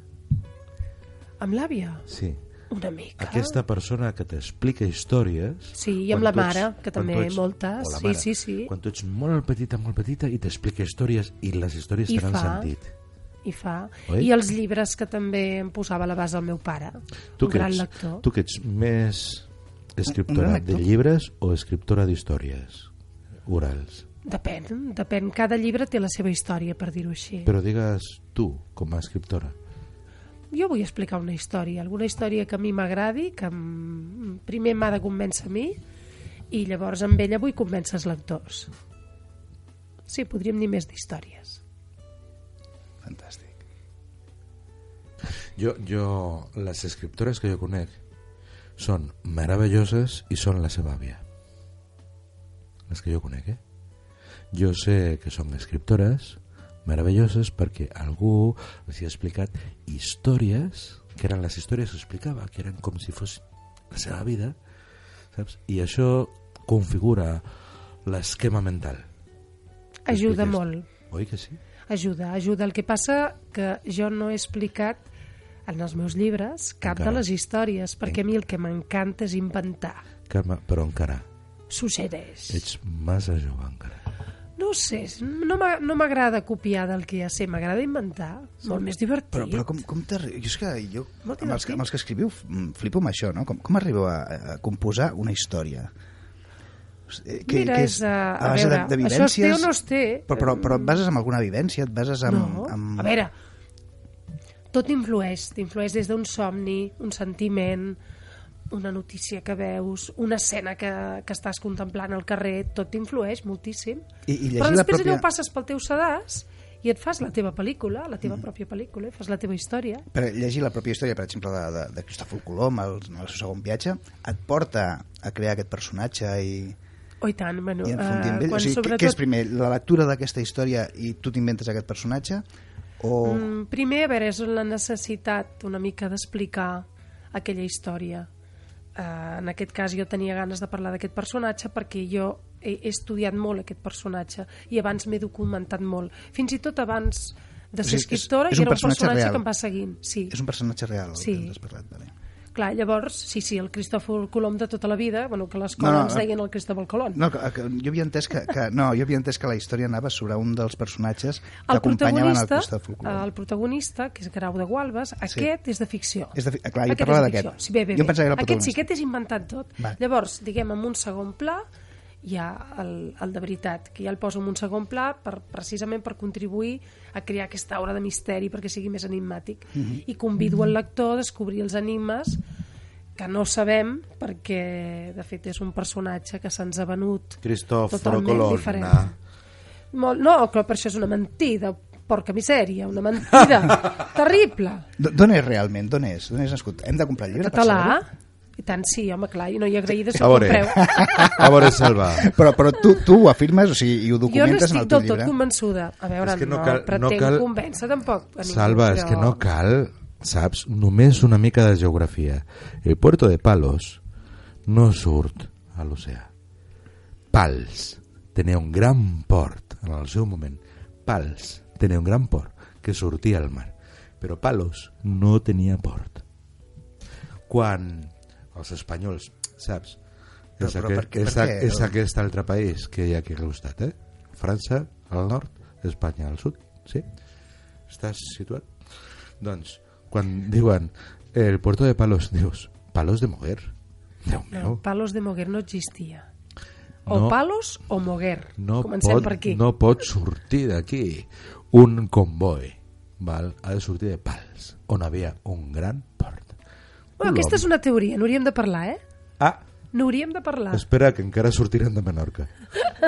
Speaker 4: Amb l'àvia,
Speaker 3: Sí.
Speaker 4: una mica.
Speaker 3: Aquesta persona que t'explica històries...
Speaker 4: Sí, i amb
Speaker 3: quan
Speaker 4: la
Speaker 3: tu ets-
Speaker 4: mare, que
Speaker 3: quan
Speaker 4: també
Speaker 3: tu ets-
Speaker 4: moltes,
Speaker 3: o la
Speaker 4: sí,
Speaker 3: mare,
Speaker 4: sí, sí.
Speaker 3: Quan tu ets molt petita, molt petita, i t'explica històries, i les històries
Speaker 4: I
Speaker 3: tenen
Speaker 4: fa.
Speaker 3: sentit.
Speaker 4: I fa.
Speaker 3: Oi?
Speaker 4: I els llibres que també em posava a la base el meu pare.
Speaker 3: Tu
Speaker 4: un
Speaker 3: que,
Speaker 4: gran
Speaker 3: ets,
Speaker 4: lector.
Speaker 3: tu que ets més
Speaker 2: gran
Speaker 3: escriptora de
Speaker 2: lector.
Speaker 3: llibres o escriptora d'històries orals?
Speaker 4: Depèn, depèn. Cada llibre té la seva història, per dir-ho així.
Speaker 3: Però digues tu, com a escriptora,
Speaker 4: jo vull explicar una història, alguna història que a mi m'agradi, que em- primer m'ha de convèncer a mi i llavors amb ella vull convèncer els lectors. Sí, podríem dir més d'històries.
Speaker 2: Fantàstic.
Speaker 3: Jo, jo, les escriptores que jo conec són meravelloses i són la seva àvia. Les que jo conec, eh? Jo sé que són escriptores meravelloses perquè algú els hi ha explicat històries, que eren les històries que explicava, que eren com si fos la seva vida, saps? I això configura l'esquema mental.
Speaker 4: Ajuda
Speaker 3: Expliques-
Speaker 4: molt.
Speaker 3: Oi que sí?
Speaker 4: Ajuda, ajuda. El que passa que jo no he explicat en els meus llibres cap
Speaker 3: Encara.
Speaker 4: de les històries, perquè a mi el que m'encanta és inventar.
Speaker 3: Carme, però encara,
Speaker 4: Succeeix.
Speaker 3: ets massa jove encara.
Speaker 4: No ho sé, no m'a- no m'agrada copiar del que ja sé, m'agrada inventar. Molt més divertit.
Speaker 2: Però, però com, com t'arri- jo és que jo,
Speaker 4: Molt
Speaker 2: amb els, que-
Speaker 4: divertit.
Speaker 2: amb els que escriviu, f- mm, flipo amb això, no? Com, com arribeu a, a composar una història? Eh,
Speaker 4: Mira, és, eh, a
Speaker 2: base
Speaker 4: veure, això es té o no es té?
Speaker 2: Però, però, però et bases en alguna evidència? Et bases en...
Speaker 4: No,
Speaker 2: en...
Speaker 4: a veure, tot influeix, t'influeix des d'un somni, un sentiment, una notícia que veus, una escena que, que estàs contemplant al carrer, tot t'influeix moltíssim.
Speaker 2: I- i llegir
Speaker 4: però
Speaker 2: la
Speaker 4: després
Speaker 2: pròpia-
Speaker 4: allò ho passes pel teu sedàs i et fas la teva pel·lícula, la
Speaker 2: Mm.
Speaker 4: teva pròpia pel·lícula, i fas la teva història.
Speaker 2: Per llegir la pròpia història, per exemple, de, de, de Cristòfol Colom, el, el seu segon viatge, et porta a crear aquest personatge i,
Speaker 4: Oh, i tant, bueno,
Speaker 2: i
Speaker 4: eh,
Speaker 2: enfondir amb ell? O
Speaker 4: quan
Speaker 2: sigui,
Speaker 4: sobretot...
Speaker 2: què, què és primer, la lectura d'aquesta història i tu t'inventes aquest personatge? O...
Speaker 4: Mm, primer, a veure, és la necessitat una mica d'explicar aquella història. Uh, en aquest cas jo tenia ganes de parlar d'aquest personatge perquè jo he, he estudiat molt aquest personatge i abans m'he documentat molt. Fins i tot abans
Speaker 2: O
Speaker 4: de ser
Speaker 2: sigui, és-
Speaker 4: escriptora
Speaker 2: és un
Speaker 4: i era un
Speaker 2: personatge
Speaker 4: personatge
Speaker 2: real.
Speaker 4: que em va seguint. Sí.
Speaker 2: És un personatge real, el
Speaker 4: Sí.
Speaker 2: que ens has parlat. Vale.
Speaker 4: Clar, llavors, sí, sí, el Cristòfol Colom de tota la vida, bueno, que a l'escola
Speaker 2: No,
Speaker 4: no,
Speaker 2: no,
Speaker 4: ens
Speaker 2: no.
Speaker 4: deien el Cristòfol Colom.
Speaker 2: No, que, que, jo havia entès que, que, no, jo havia entès que la història anava sobre un dels personatges que
Speaker 4: el
Speaker 2: acompanyaven el
Speaker 4: protagonista,
Speaker 2: Cristòfol Colom.
Speaker 4: el protagonista, que és Grau de Gualbes, aquest és de ficció.
Speaker 2: És de fi- ah, clar, jo
Speaker 4: Aquest
Speaker 2: parlava
Speaker 4: és de ficció.
Speaker 2: d'aquest.
Speaker 4: Sí, bé, bé,
Speaker 2: Jo em pensava que era el
Speaker 4: aquest sí,
Speaker 2: protagonista.
Speaker 4: aquest és inventat tot.
Speaker 2: Vale.
Speaker 4: Llavors, diguem, en un segon pla hi ha el, el de veritat, que ja el poso en un segon pla per, precisament per contribuir a crear aquesta aura de misteri perquè sigui més enigmàtic.
Speaker 2: Mhm.
Speaker 4: I convido el lector a descobrir els enigmes que no sabem perquè, de fet, és un personatge que se'ns ha venut
Speaker 3: Cristòforo
Speaker 4: totalment diferent.
Speaker 3: Colonna.
Speaker 4: Molt, no, clar, per això és una mentida, porca misèria, una mentida terrible.
Speaker 2: D- D'on és realment? D'on és? D'on és nascut? Hem de comprar el llibre
Speaker 4: Català,
Speaker 2: per
Speaker 4: i tant sí, home, clar, i no hi agraïda si
Speaker 3: eh? A
Speaker 4: ho
Speaker 3: veure,
Speaker 4: compreu.
Speaker 3: a veure, Salva.
Speaker 2: saber-ho? eh? Però, però tu, tu ho afirmes o sigui, i ho
Speaker 4: Jo no
Speaker 2: documentes en
Speaker 4: estic
Speaker 2: el teu
Speaker 4: del tot
Speaker 2: llibre?
Speaker 4: convençuda. A veure,
Speaker 3: És que no
Speaker 4: no,
Speaker 3: cal- no
Speaker 4: pretenc
Speaker 3: cal-
Speaker 4: convèncer tampoc. a ningú,
Speaker 3: Salva, és
Speaker 4: però-
Speaker 3: que no cal, saps? Només una mica de geografia. El puerto de Palos no surt a l'oceà. Pals tenia un gran port en el seu moment. Pals tenia un gran port que sortia al mar. Però Palos no tenia port. Quan els espanyols, saps?
Speaker 2: Però-
Speaker 3: És,
Speaker 2: però
Speaker 3: aquest,
Speaker 2: per què- per
Speaker 3: és, a-
Speaker 2: què?
Speaker 3: és aquest altre país que hi ha aquí al costat, eh? França al nord, Espanya al sud, sí? Estàs situat? Doncs, quan diuen el puerto de Palos, dius, Palos de Moguer? Déu meu.
Speaker 4: No, Palos de Moguer no existia. O
Speaker 3: No.
Speaker 4: Palos o Moguer.
Speaker 3: no
Speaker 4: Comencem
Speaker 3: pot,
Speaker 4: per aquí.
Speaker 3: No pot sortir d'aquí un comboi. Val? Ha de sortir de Pals, on hi havia un gran port.
Speaker 4: Bueno, aquesta és una teoria, n'hauríem de parlar, eh?
Speaker 3: Ah,
Speaker 4: N'hauríem de parlar.
Speaker 3: espera, que encara sortiran de Menorca.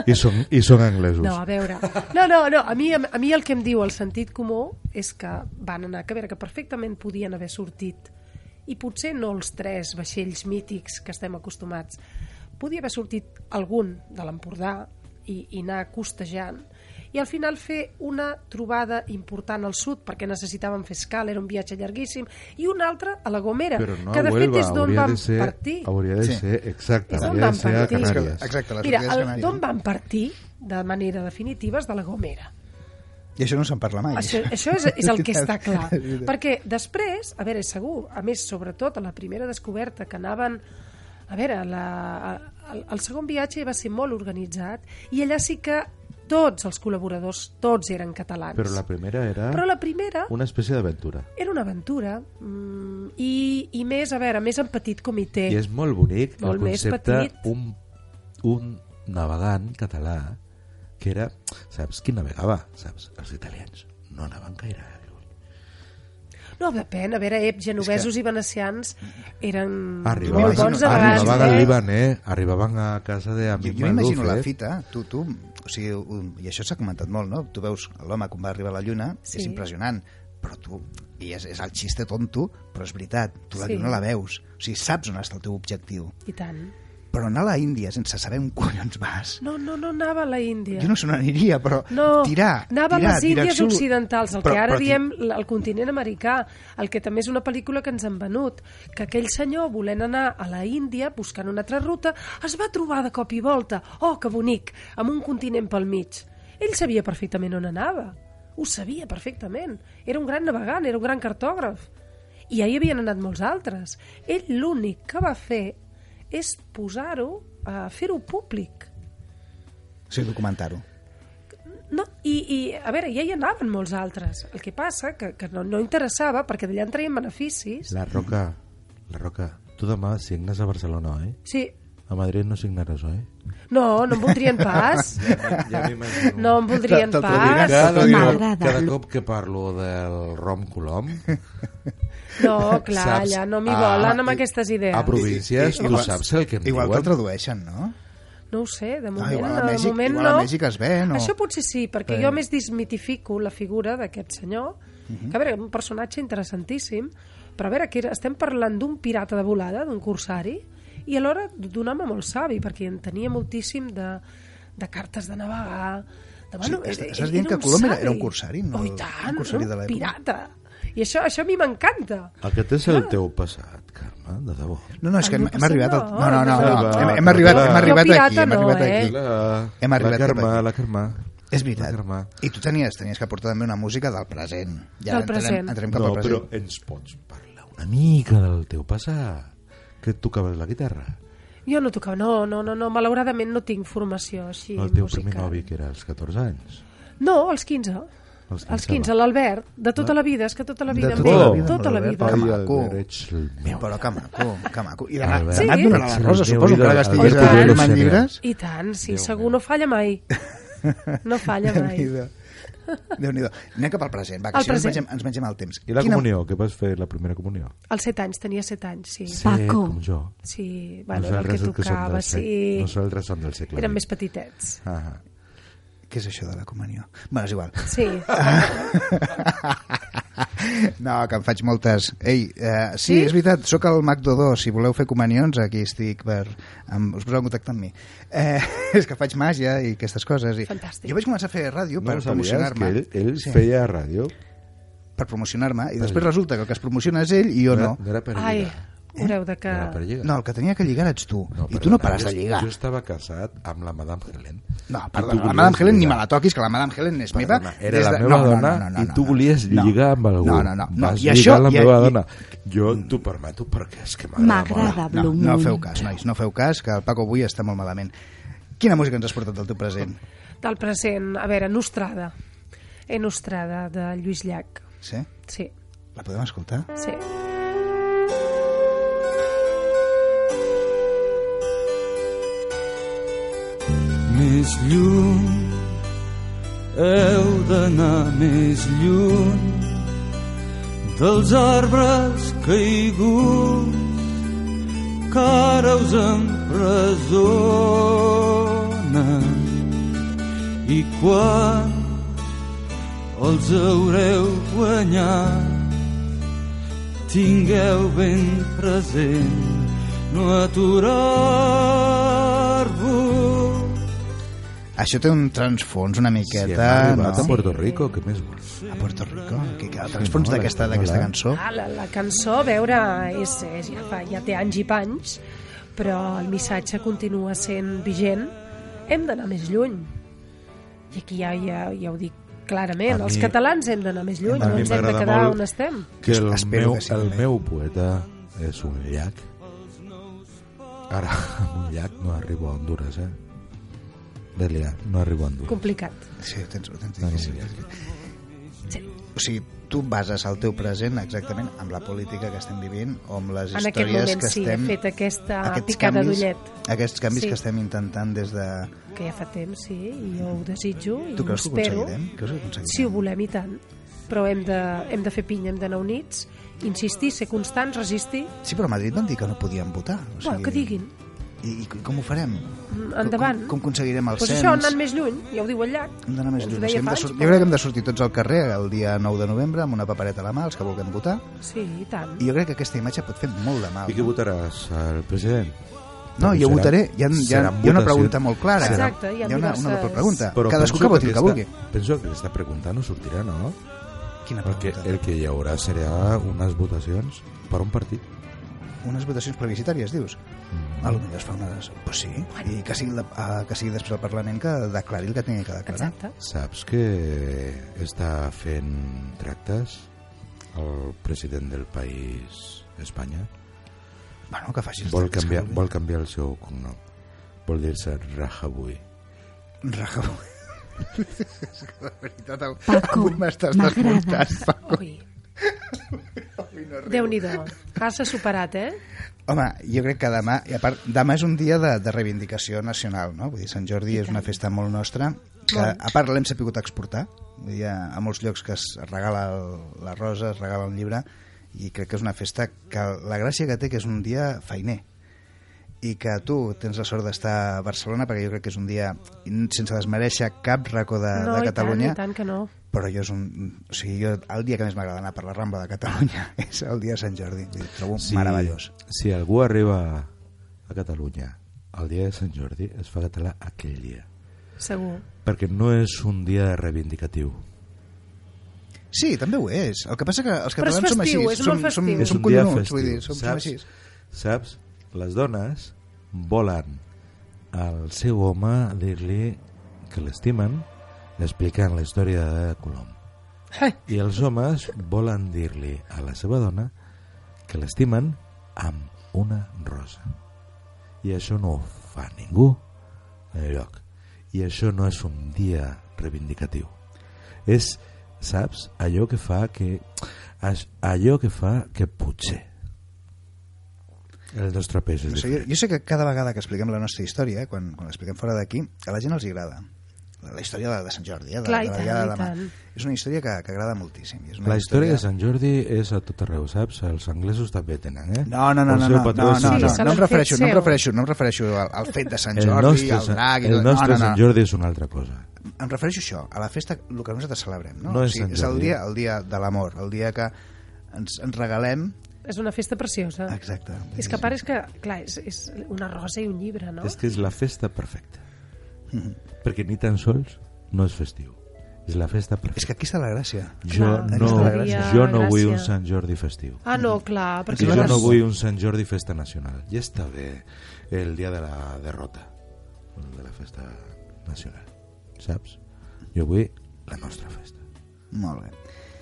Speaker 3: I són, i són anglesos.
Speaker 4: No, a veure. No, no, no. A mi, a mi el que em diu el sentit comú és que van anar, que a veure, que perfectament podien haver sortit i potser no els tres vaixells mítics que estem acostumats. Podia haver sortit algun de l'Empordà i, i anar costejant i al final fer una trobada important al sud perquè necessitaven fer escala, era un viatge llarguíssim, i una altra a la Gomera,
Speaker 3: Però no
Speaker 4: que
Speaker 3: a
Speaker 4: de
Speaker 3: Huelva,
Speaker 4: fet és d'on
Speaker 3: hauria
Speaker 4: vam
Speaker 3: de ser,
Speaker 4: partir.
Speaker 3: Hauria de
Speaker 2: Sí.
Speaker 3: ser, exacte,
Speaker 4: És d'on
Speaker 3: hauria de
Speaker 4: vam
Speaker 3: ser a
Speaker 4: partir.
Speaker 3: Canàries.
Speaker 2: Exacte, les
Speaker 4: Mira,
Speaker 2: Orquídees
Speaker 4: el-
Speaker 2: Canàries.
Speaker 4: d'on van partir de manera definitiva és de la Gomera.
Speaker 2: I això no se'n parla mai.
Speaker 4: Això, això és, és el que està clar.
Speaker 2: És veritat.
Speaker 4: Perquè després, a veure, segur, a més, sobretot a la primera descoberta que anaven... A veure, la, el, el segon viatge va ser molt organitzat i allà sí que tots els col·laboradors, tots eren catalans.
Speaker 3: Però la primera era
Speaker 4: Però la primera
Speaker 3: una espècie d'aventura.
Speaker 4: era una aventura mm, i, i més, a veure, més en petit comitè.
Speaker 3: I és molt bonic
Speaker 4: Molt
Speaker 3: el
Speaker 4: més
Speaker 3: concepte
Speaker 4: petit.
Speaker 3: un, un navegant català que era, eh, saps qui navegava? Saps? Els italians no anaven gaire lluny.
Speaker 4: No, depèn. A veure, ep, genovesos que... i venecians eren
Speaker 3: Arribaven,
Speaker 4: molt Mm. bons de
Speaker 2: m'imagino- eh?
Speaker 3: arribaven
Speaker 4: vegades.
Speaker 3: al Líban, eh? Arribaven a casa de
Speaker 2: Jo,
Speaker 3: amic
Speaker 2: jo m'imagino
Speaker 3: Malduf,
Speaker 2: la
Speaker 3: eh?
Speaker 2: fita, tu, tu, o sigui, un, i això s'ha comentat molt, no? Tu veus l'home quan va arribar a la Lluna, sí.
Speaker 4: Sí.
Speaker 2: és impressionant, però tu, i és, és el xiste tonto, però és veritat, tu la
Speaker 4: Sí.
Speaker 2: Lluna la veus, o sigui, saps on està el teu objectiu.
Speaker 4: I tant.
Speaker 2: Però anar a la Índia sense saber on collons vas,
Speaker 4: No, no, no anava a la Índia.
Speaker 2: jo no sé on aniria, però
Speaker 4: No,
Speaker 2: tirar,
Speaker 4: anava
Speaker 2: tirar,
Speaker 4: a les Índies
Speaker 2: direcció-
Speaker 4: occidentals, el que ara
Speaker 2: ti-
Speaker 4: diem l- el continent americà, el que també és una pel·lícula que ens han venut, que aquell senyor, volent anar a la Índia, buscant una altra ruta, es va trobar de cop i volta, oh, que bonic, amb un continent pel mig. Ell sabia perfectament on anava, ho sabia perfectament. Era un gran navegant, era un gran cartògraf. I ja hi havien anat molts altres. Ell l'únic que va fer és posar-ho, a fer-ho públic.
Speaker 2: O sigui, documentar-ho.
Speaker 4: No, i, i a veure, ja hi anaven molts altres. El que passa que, que no, no interessava perquè d'allà en traien beneficis. La...
Speaker 3: eh? La Roca, la Roca, tu demà signes a Barcelona, oi?
Speaker 4: Sí,
Speaker 3: A Madrid no signaràs, oi?
Speaker 4: no, no em voldrien pas.
Speaker 3: Ja m'imagino.
Speaker 4: No em voldrien
Speaker 2: Te'l- te'l diré.
Speaker 4: pas.
Speaker 3: Cada,
Speaker 5: M'agrada.
Speaker 3: cop, cada cop que parlo del Rom Colom,
Speaker 4: No, clar,
Speaker 3: saps...
Speaker 4: ja no m'hi
Speaker 3: a-
Speaker 4: volen amb aquestes idees.
Speaker 3: A províncies, tu
Speaker 2: Igual-
Speaker 3: saps el que em
Speaker 2: Igual t'ho
Speaker 3: diuen?
Speaker 2: tradueixen, no?
Speaker 4: No ho sé, de moment,
Speaker 2: Ah, igual a
Speaker 4: no,
Speaker 2: Mèxic-
Speaker 4: de moment
Speaker 2: igual a
Speaker 4: no.
Speaker 2: Mèxic es ven, o-
Speaker 4: Això potser sí, perquè jo més desmitifico la figura d'aquest senyor,
Speaker 2: Mhm.
Speaker 4: que a veure, un personatge interessantíssim, però a veure, que era- estem parlant d'un pirata de volada, d'un corsari, i alhora d'un home molt savi, perquè en tenia moltíssim de, de cartes de navegar... De,
Speaker 2: Sí, estàs- estàs
Speaker 4: era
Speaker 2: dient que
Speaker 4: un
Speaker 2: Colom era-
Speaker 4: savi.
Speaker 2: era un corsari, no?
Speaker 4: Oh, i tant,
Speaker 2: Un corsari
Speaker 4: era
Speaker 2: de
Speaker 4: un
Speaker 2: l'època. Ah.
Speaker 4: pirata. I això, això a mi m'encanta.
Speaker 3: Aquest és
Speaker 4: Ah.
Speaker 3: el teu passat, Carme, de debò.
Speaker 2: No, no, és
Speaker 4: El
Speaker 2: que hem,
Speaker 4: meu
Speaker 2: hem arribat... Al...
Speaker 4: passat
Speaker 2: No, no, no,
Speaker 4: no,
Speaker 2: no.
Speaker 3: no.
Speaker 2: Hem, hem arribat, hem
Speaker 3: Jo
Speaker 2: arribat aquí.
Speaker 4: pirata
Speaker 2: Hem
Speaker 4: no,
Speaker 2: arribat
Speaker 4: eh?
Speaker 2: aquí.
Speaker 3: La,
Speaker 2: Hem arribat
Speaker 3: la
Speaker 2: cap
Speaker 3: Carme,
Speaker 2: aquí.
Speaker 3: la Carme.
Speaker 2: És
Speaker 3: La
Speaker 2: veritat.
Speaker 3: Carme.
Speaker 2: I tu tenies, tenies que portar també una música del present. Ja
Speaker 4: Del
Speaker 2: entrem,
Speaker 4: present.
Speaker 2: entrem cap
Speaker 3: No,
Speaker 2: al
Speaker 3: però
Speaker 2: present.
Speaker 3: ens pots parlar una mica del teu passat, que et tocaves la guitarra.
Speaker 4: Jo no tocava, no, no, no, no malauradament no tinc formació així
Speaker 3: El teu
Speaker 4: musical.
Speaker 3: primer novi, que era als 14 anys.
Speaker 4: No, als 15.
Speaker 3: Als 15,
Speaker 4: Als 15, l'Albert, de tota la vida, és que tota la vida
Speaker 3: De
Speaker 4: em
Speaker 3: tota
Speaker 4: ve,
Speaker 3: la vida,
Speaker 4: tota la
Speaker 2: l'Albert,
Speaker 4: vida.
Speaker 2: que
Speaker 3: Ai,
Speaker 2: maco.
Speaker 3: Albert, ets el meu. Ah,
Speaker 2: Però que maco, que maco. I d'anar
Speaker 3: Albert.
Speaker 2: sí.
Speaker 4: Sí.
Speaker 2: donant les
Speaker 3: Ets el
Speaker 2: roses,
Speaker 3: teu
Speaker 2: suposo, que
Speaker 3: ídol,
Speaker 2: ara estiguis
Speaker 3: Albert
Speaker 2: a
Speaker 3: Cordero
Speaker 2: Roman
Speaker 3: Senior.
Speaker 2: Llibres.
Speaker 4: I tant, sí, segur no falla mai. No falla mai.
Speaker 2: Déu-n'hi-do. Déu-n'hi-do. Anem cap al present, va, que
Speaker 4: Al
Speaker 2: si no ens
Speaker 4: present.
Speaker 2: mengem, ens mengem el temps.
Speaker 3: I la comunió, què vas fer la primera comunió?
Speaker 4: Als 7 anys, tenia 7 anys, sí.
Speaker 5: Sí. Paco.
Speaker 3: com jo.
Speaker 4: Sí, bueno, era el que
Speaker 3: Nosaltres el que som
Speaker 4: tocava,
Speaker 3: del sec-
Speaker 4: sí.
Speaker 3: Nosaltres som del segle
Speaker 4: Érem
Speaker 3: XX.
Speaker 4: més petitets.
Speaker 3: Ahà.
Speaker 2: Què és això de la comunió? Bé, és igual.
Speaker 4: Sí,
Speaker 2: No, que en faig moltes. Ei, eh, sí,
Speaker 4: Sí?
Speaker 2: és veritat, sóc al Macdo 2. Si voleu fer comanions, aquí estic per... Amb, us poseu en contacte amb mi. Eh, és que faig màgia i aquestes coses. I...
Speaker 4: Fantàstic.
Speaker 2: Jo vaig començar a fer ràdio
Speaker 3: No
Speaker 2: per
Speaker 3: ho sabies que
Speaker 2: promocionar-me.
Speaker 3: ell, ell feia ràdio?
Speaker 2: Per promocionar-me. I després resulta que el que es promociona és ell i jo no.
Speaker 3: era- No era per lligar.
Speaker 4: ai, veureu de que...
Speaker 3: No era per lligar.
Speaker 2: No, el que tenia que lligar ets tu.
Speaker 3: No,
Speaker 2: I tu no
Speaker 3: perdona,
Speaker 2: pares de
Speaker 3: jo-
Speaker 2: lligar.
Speaker 3: Jo estava casat amb la Madame Helen.
Speaker 2: No,
Speaker 3: I tu
Speaker 2: perdona, la
Speaker 3: volies
Speaker 2: Madame Helen ni me
Speaker 3: lligar.
Speaker 2: la toquis, que la Madame Helen és meva.
Speaker 3: Perdona, era
Speaker 2: des
Speaker 3: la
Speaker 2: de-
Speaker 3: meva dona i tu volies lligar amb algú.
Speaker 2: No, no, no. no.
Speaker 3: Vas
Speaker 2: I
Speaker 3: lligar
Speaker 2: això,
Speaker 3: la
Speaker 2: i-
Speaker 3: meva
Speaker 2: i-
Speaker 3: dona. Mm. Jo t'ho permeto perquè és que m'agrada
Speaker 5: M'agrada.
Speaker 3: molt.
Speaker 2: No,
Speaker 5: Blum.
Speaker 2: no feu cas, nois, no feu cas, que el Paco avui està molt malament. Quina música ens has portat del teu present?
Speaker 4: Del present, a veure, Nostrada. Eh, Nostrada, de Lluís Llach.
Speaker 2: Sí?
Speaker 4: Sí,
Speaker 2: La podem escoltar?
Speaker 4: sí.
Speaker 6: més lluny heu d'anar més lluny dels arbres caiguts que ara us empresonen i quan els haureu guanyat tingueu ben present no aturar-vos
Speaker 2: Això té un transfons una
Speaker 3: Si hem
Speaker 2: miqueta,
Speaker 3: arribat a
Speaker 2: no?
Speaker 3: Puerto Rico, què més vols?
Speaker 2: A Puerto Rico, que, que el transfons
Speaker 3: no,
Speaker 2: d'aquesta
Speaker 3: la-
Speaker 2: d'aquesta
Speaker 3: la-
Speaker 2: cançó.
Speaker 4: Ah, la, la cançó, a veure, és, és, ja, fa, ja té anys i panys, però el missatge continua sent vigent. Hem d'anar més lluny. I aquí ja, ja, ja ho dic clarament.
Speaker 3: A
Speaker 4: Els
Speaker 3: mi-
Speaker 4: catalans hem d'anar més lluny,
Speaker 3: a
Speaker 4: no
Speaker 3: mi
Speaker 4: ens hem de
Speaker 3: m'agrada
Speaker 4: quedar
Speaker 3: molt-
Speaker 4: on estem.
Speaker 3: Que el
Speaker 2: Espero
Speaker 3: meu,
Speaker 2: que sí,
Speaker 3: el
Speaker 2: eh?
Speaker 3: meu poeta és un llac. Ara, amb un llac no arribo a Honduras, eh? De liar, no arribo a Honduras.
Speaker 4: Complicat.
Speaker 2: Sí, ho tens, ho tens
Speaker 3: No, no,
Speaker 2: difícil. O sigui, tu bases el teu present exactament amb la política que estem vivint o amb les
Speaker 4: En aquest
Speaker 2: històries
Speaker 4: moment
Speaker 2: que
Speaker 4: sí,
Speaker 2: estem...
Speaker 4: he fet aquesta
Speaker 2: aquests
Speaker 4: picada
Speaker 2: canvis-
Speaker 4: d'ullet,
Speaker 2: Aquests canvis
Speaker 4: Sí.
Speaker 2: que estem intentant des de...
Speaker 4: que ja fa temps, sí, i jo ho desitjo i
Speaker 2: Tu
Speaker 4: ho
Speaker 2: creus que ho
Speaker 4: espero.
Speaker 2: aconseguirem? Creus que ho aconseguirem?
Speaker 4: Si ho volem i tant. però hem de, hem de fer pinya, hem d'anar units, insistir, ser constants, resistir,
Speaker 2: Sí, però a Madrid van dir que no podien votar. O sigui,
Speaker 4: bueno, que diguin,
Speaker 2: I, I com ho farem?
Speaker 4: endavant.
Speaker 2: Com, com aconseguirem el
Speaker 4: Pues
Speaker 2: cens?
Speaker 4: això, anant més lluny, ja ho diu el llac.
Speaker 2: Hem d'anar més
Speaker 4: Us ho
Speaker 2: lluny.
Speaker 4: deia
Speaker 2: Sí, hem
Speaker 4: fa
Speaker 2: de
Speaker 4: anys,
Speaker 2: sur- jo
Speaker 4: però-
Speaker 2: crec que hem de sortir tots al carrer el dia 9 de novembre amb una papereta a la mà, els que vulguem votar.
Speaker 4: Sí, i tant.
Speaker 2: I jo crec que aquesta imatge pot fer molt de mal.
Speaker 3: I què votaràs? El president?
Speaker 2: Ah, No,
Speaker 3: Doncs
Speaker 2: jo
Speaker 3: serà-
Speaker 2: votaré. Hi ha, hi ha,
Speaker 3: seran
Speaker 2: hi ha una
Speaker 3: votacions.
Speaker 2: pregunta molt clara.
Speaker 4: Exacte, hi ha
Speaker 2: una,
Speaker 4: diverses-
Speaker 2: una doble pregunta.
Speaker 3: Però
Speaker 2: Cadascú que
Speaker 3: penso
Speaker 2: voti el que vulgui.
Speaker 3: aquesta- Penso que aquesta pregunta no sortirà, no?
Speaker 2: Quina
Speaker 3: Perquè
Speaker 2: pregunta?
Speaker 3: el que hi haurà serà unes votacions per un partit.
Speaker 2: Unes votacions plebiscitàries, dius?
Speaker 3: Mm.
Speaker 2: A lo millor es fa una... Pues sí, i que sigui, la, eh, que sigui després del Parlament que declari el que tingui que declarar.
Speaker 4: Exacte.
Speaker 3: Saps que està fent tractes el president del país, Espanya?
Speaker 2: Bueno, que facis...
Speaker 3: Vol
Speaker 2: els que
Speaker 3: canviar,
Speaker 2: vulgui.
Speaker 3: vol canviar el seu cognom. Vol dir-se Rajabuí.
Speaker 2: Rajoy. la veritat, av-
Speaker 5: Paco,
Speaker 2: avui m'estàs
Speaker 5: m'agrades.
Speaker 2: desmuntant. Paco.
Speaker 4: Ui. Déu-n'hi-do. Has superat, eh?
Speaker 2: Home, jo crec que demà, i a part, demà és un dia de, de reivindicació nacional, no? Vull dir, Sant Jordi és una festa molt nostra, que a part l'hem sapigut exportar, Vull dir, a, a molts llocs que es regala el- la rosa, es regala un llibre, i crec que és una festa que la gràcia que té que és un dia feiner, i que tu tens la sort d'estar a Barcelona perquè jo crec que és un dia sense desmereixer cap racó de,
Speaker 4: no,
Speaker 2: de Catalunya
Speaker 4: i tant, i tant que no.
Speaker 2: però jo és un... O sigui, jo, el dia que més m'agrada anar per la Rambla de Catalunya és el dia de Sant Jordi. Vull dir, trobo sí. meravellós.
Speaker 3: Si algú arriba a Catalunya el dia de Sant Jordi, es fa català aquell dia.
Speaker 4: Segur.
Speaker 3: Perquè no és un dia reivindicatiu.
Speaker 2: Sí, també ho és. El que passa que els
Speaker 4: Però és
Speaker 2: catalans som així.
Speaker 4: festiu, és
Speaker 2: som,
Speaker 4: molt
Speaker 2: som,
Speaker 4: festiu.
Speaker 2: som,
Speaker 4: És
Speaker 2: som
Speaker 3: dia
Speaker 2: collonuts, vull dir, som, som
Speaker 3: saps?
Speaker 2: així.
Speaker 3: Saps? Les dones volen al seu home dir-li que l'estimen explicant la història de Colom.
Speaker 4: Ai,
Speaker 3: I els homes volen dir-li a la seva dona que l'estimen amb una rosa. I això no ho fa ningú enlloc. I això no és un dia reivindicatiu. És, saps, allò que fa que... és Allò que fa que potser el nostre peix és
Speaker 2: No sé, jo,
Speaker 3: diferent.
Speaker 2: jo sé que cada vegada que expliquem la nostra història, quan, quan l'expliquem fora d'aquí, a la gent els hi agrada. La, la història de, de Sant Jordi, eh? de,
Speaker 4: Clar, i
Speaker 2: de la
Speaker 4: tant,
Speaker 2: diada
Speaker 4: i
Speaker 2: de demà.
Speaker 4: tant.
Speaker 2: És una història que, que agrada moltíssim. i És una
Speaker 3: La història de Sant Jordi és a tot arreu, saps? Els anglesos també tenen, eh?
Speaker 2: No, no, no,
Speaker 3: El
Speaker 2: no,
Speaker 3: seu
Speaker 2: no, no,
Speaker 3: patró
Speaker 2: no,
Speaker 3: és
Speaker 2: no,
Speaker 3: Sant
Speaker 2: no,
Speaker 3: Jordi.
Speaker 2: no em refereixo, no em
Speaker 4: Seu.
Speaker 2: refereixo, no em refereixo al, al fet de Sant
Speaker 3: El
Speaker 2: Jordi,
Speaker 3: nostre,
Speaker 2: al drac... i
Speaker 3: el
Speaker 2: tot-
Speaker 3: nostre
Speaker 2: no, no,
Speaker 3: Sant
Speaker 2: no.
Speaker 3: Jordi és una altra cosa.
Speaker 2: em refereixo a això, a la festa, el que nosaltres celebrem, no?
Speaker 3: No és
Speaker 2: o sigui,
Speaker 3: Sant
Speaker 2: és el
Speaker 3: Jordi.
Speaker 2: dia, el dia de l'amor, el dia que ens, ens regalem...
Speaker 4: és una festa preciosa.
Speaker 2: Exacte.
Speaker 4: És que a part és que, clar, és, és una rosa i un llibre, no?
Speaker 3: És que és la festa perfecta. Perquè ni tan sols no és festiu. És la festa
Speaker 2: És
Speaker 3: perfecta.
Speaker 2: que aquí està la gràcia.
Speaker 3: Jo
Speaker 4: Clar,
Speaker 3: no,
Speaker 2: aquesta
Speaker 4: és la
Speaker 3: jo no
Speaker 4: gràcia.
Speaker 3: vull un Sant Jordi festiu.
Speaker 4: Ah, no, clar,
Speaker 3: Perquè
Speaker 4: perquè...
Speaker 3: jo no
Speaker 2: nosaltres-
Speaker 3: vull un Sant Jordi festa nacional. Ja està bé el dia de la derrota. El de la festa nacional. Saps? Jo vull la nostra festa.
Speaker 2: Molt bé.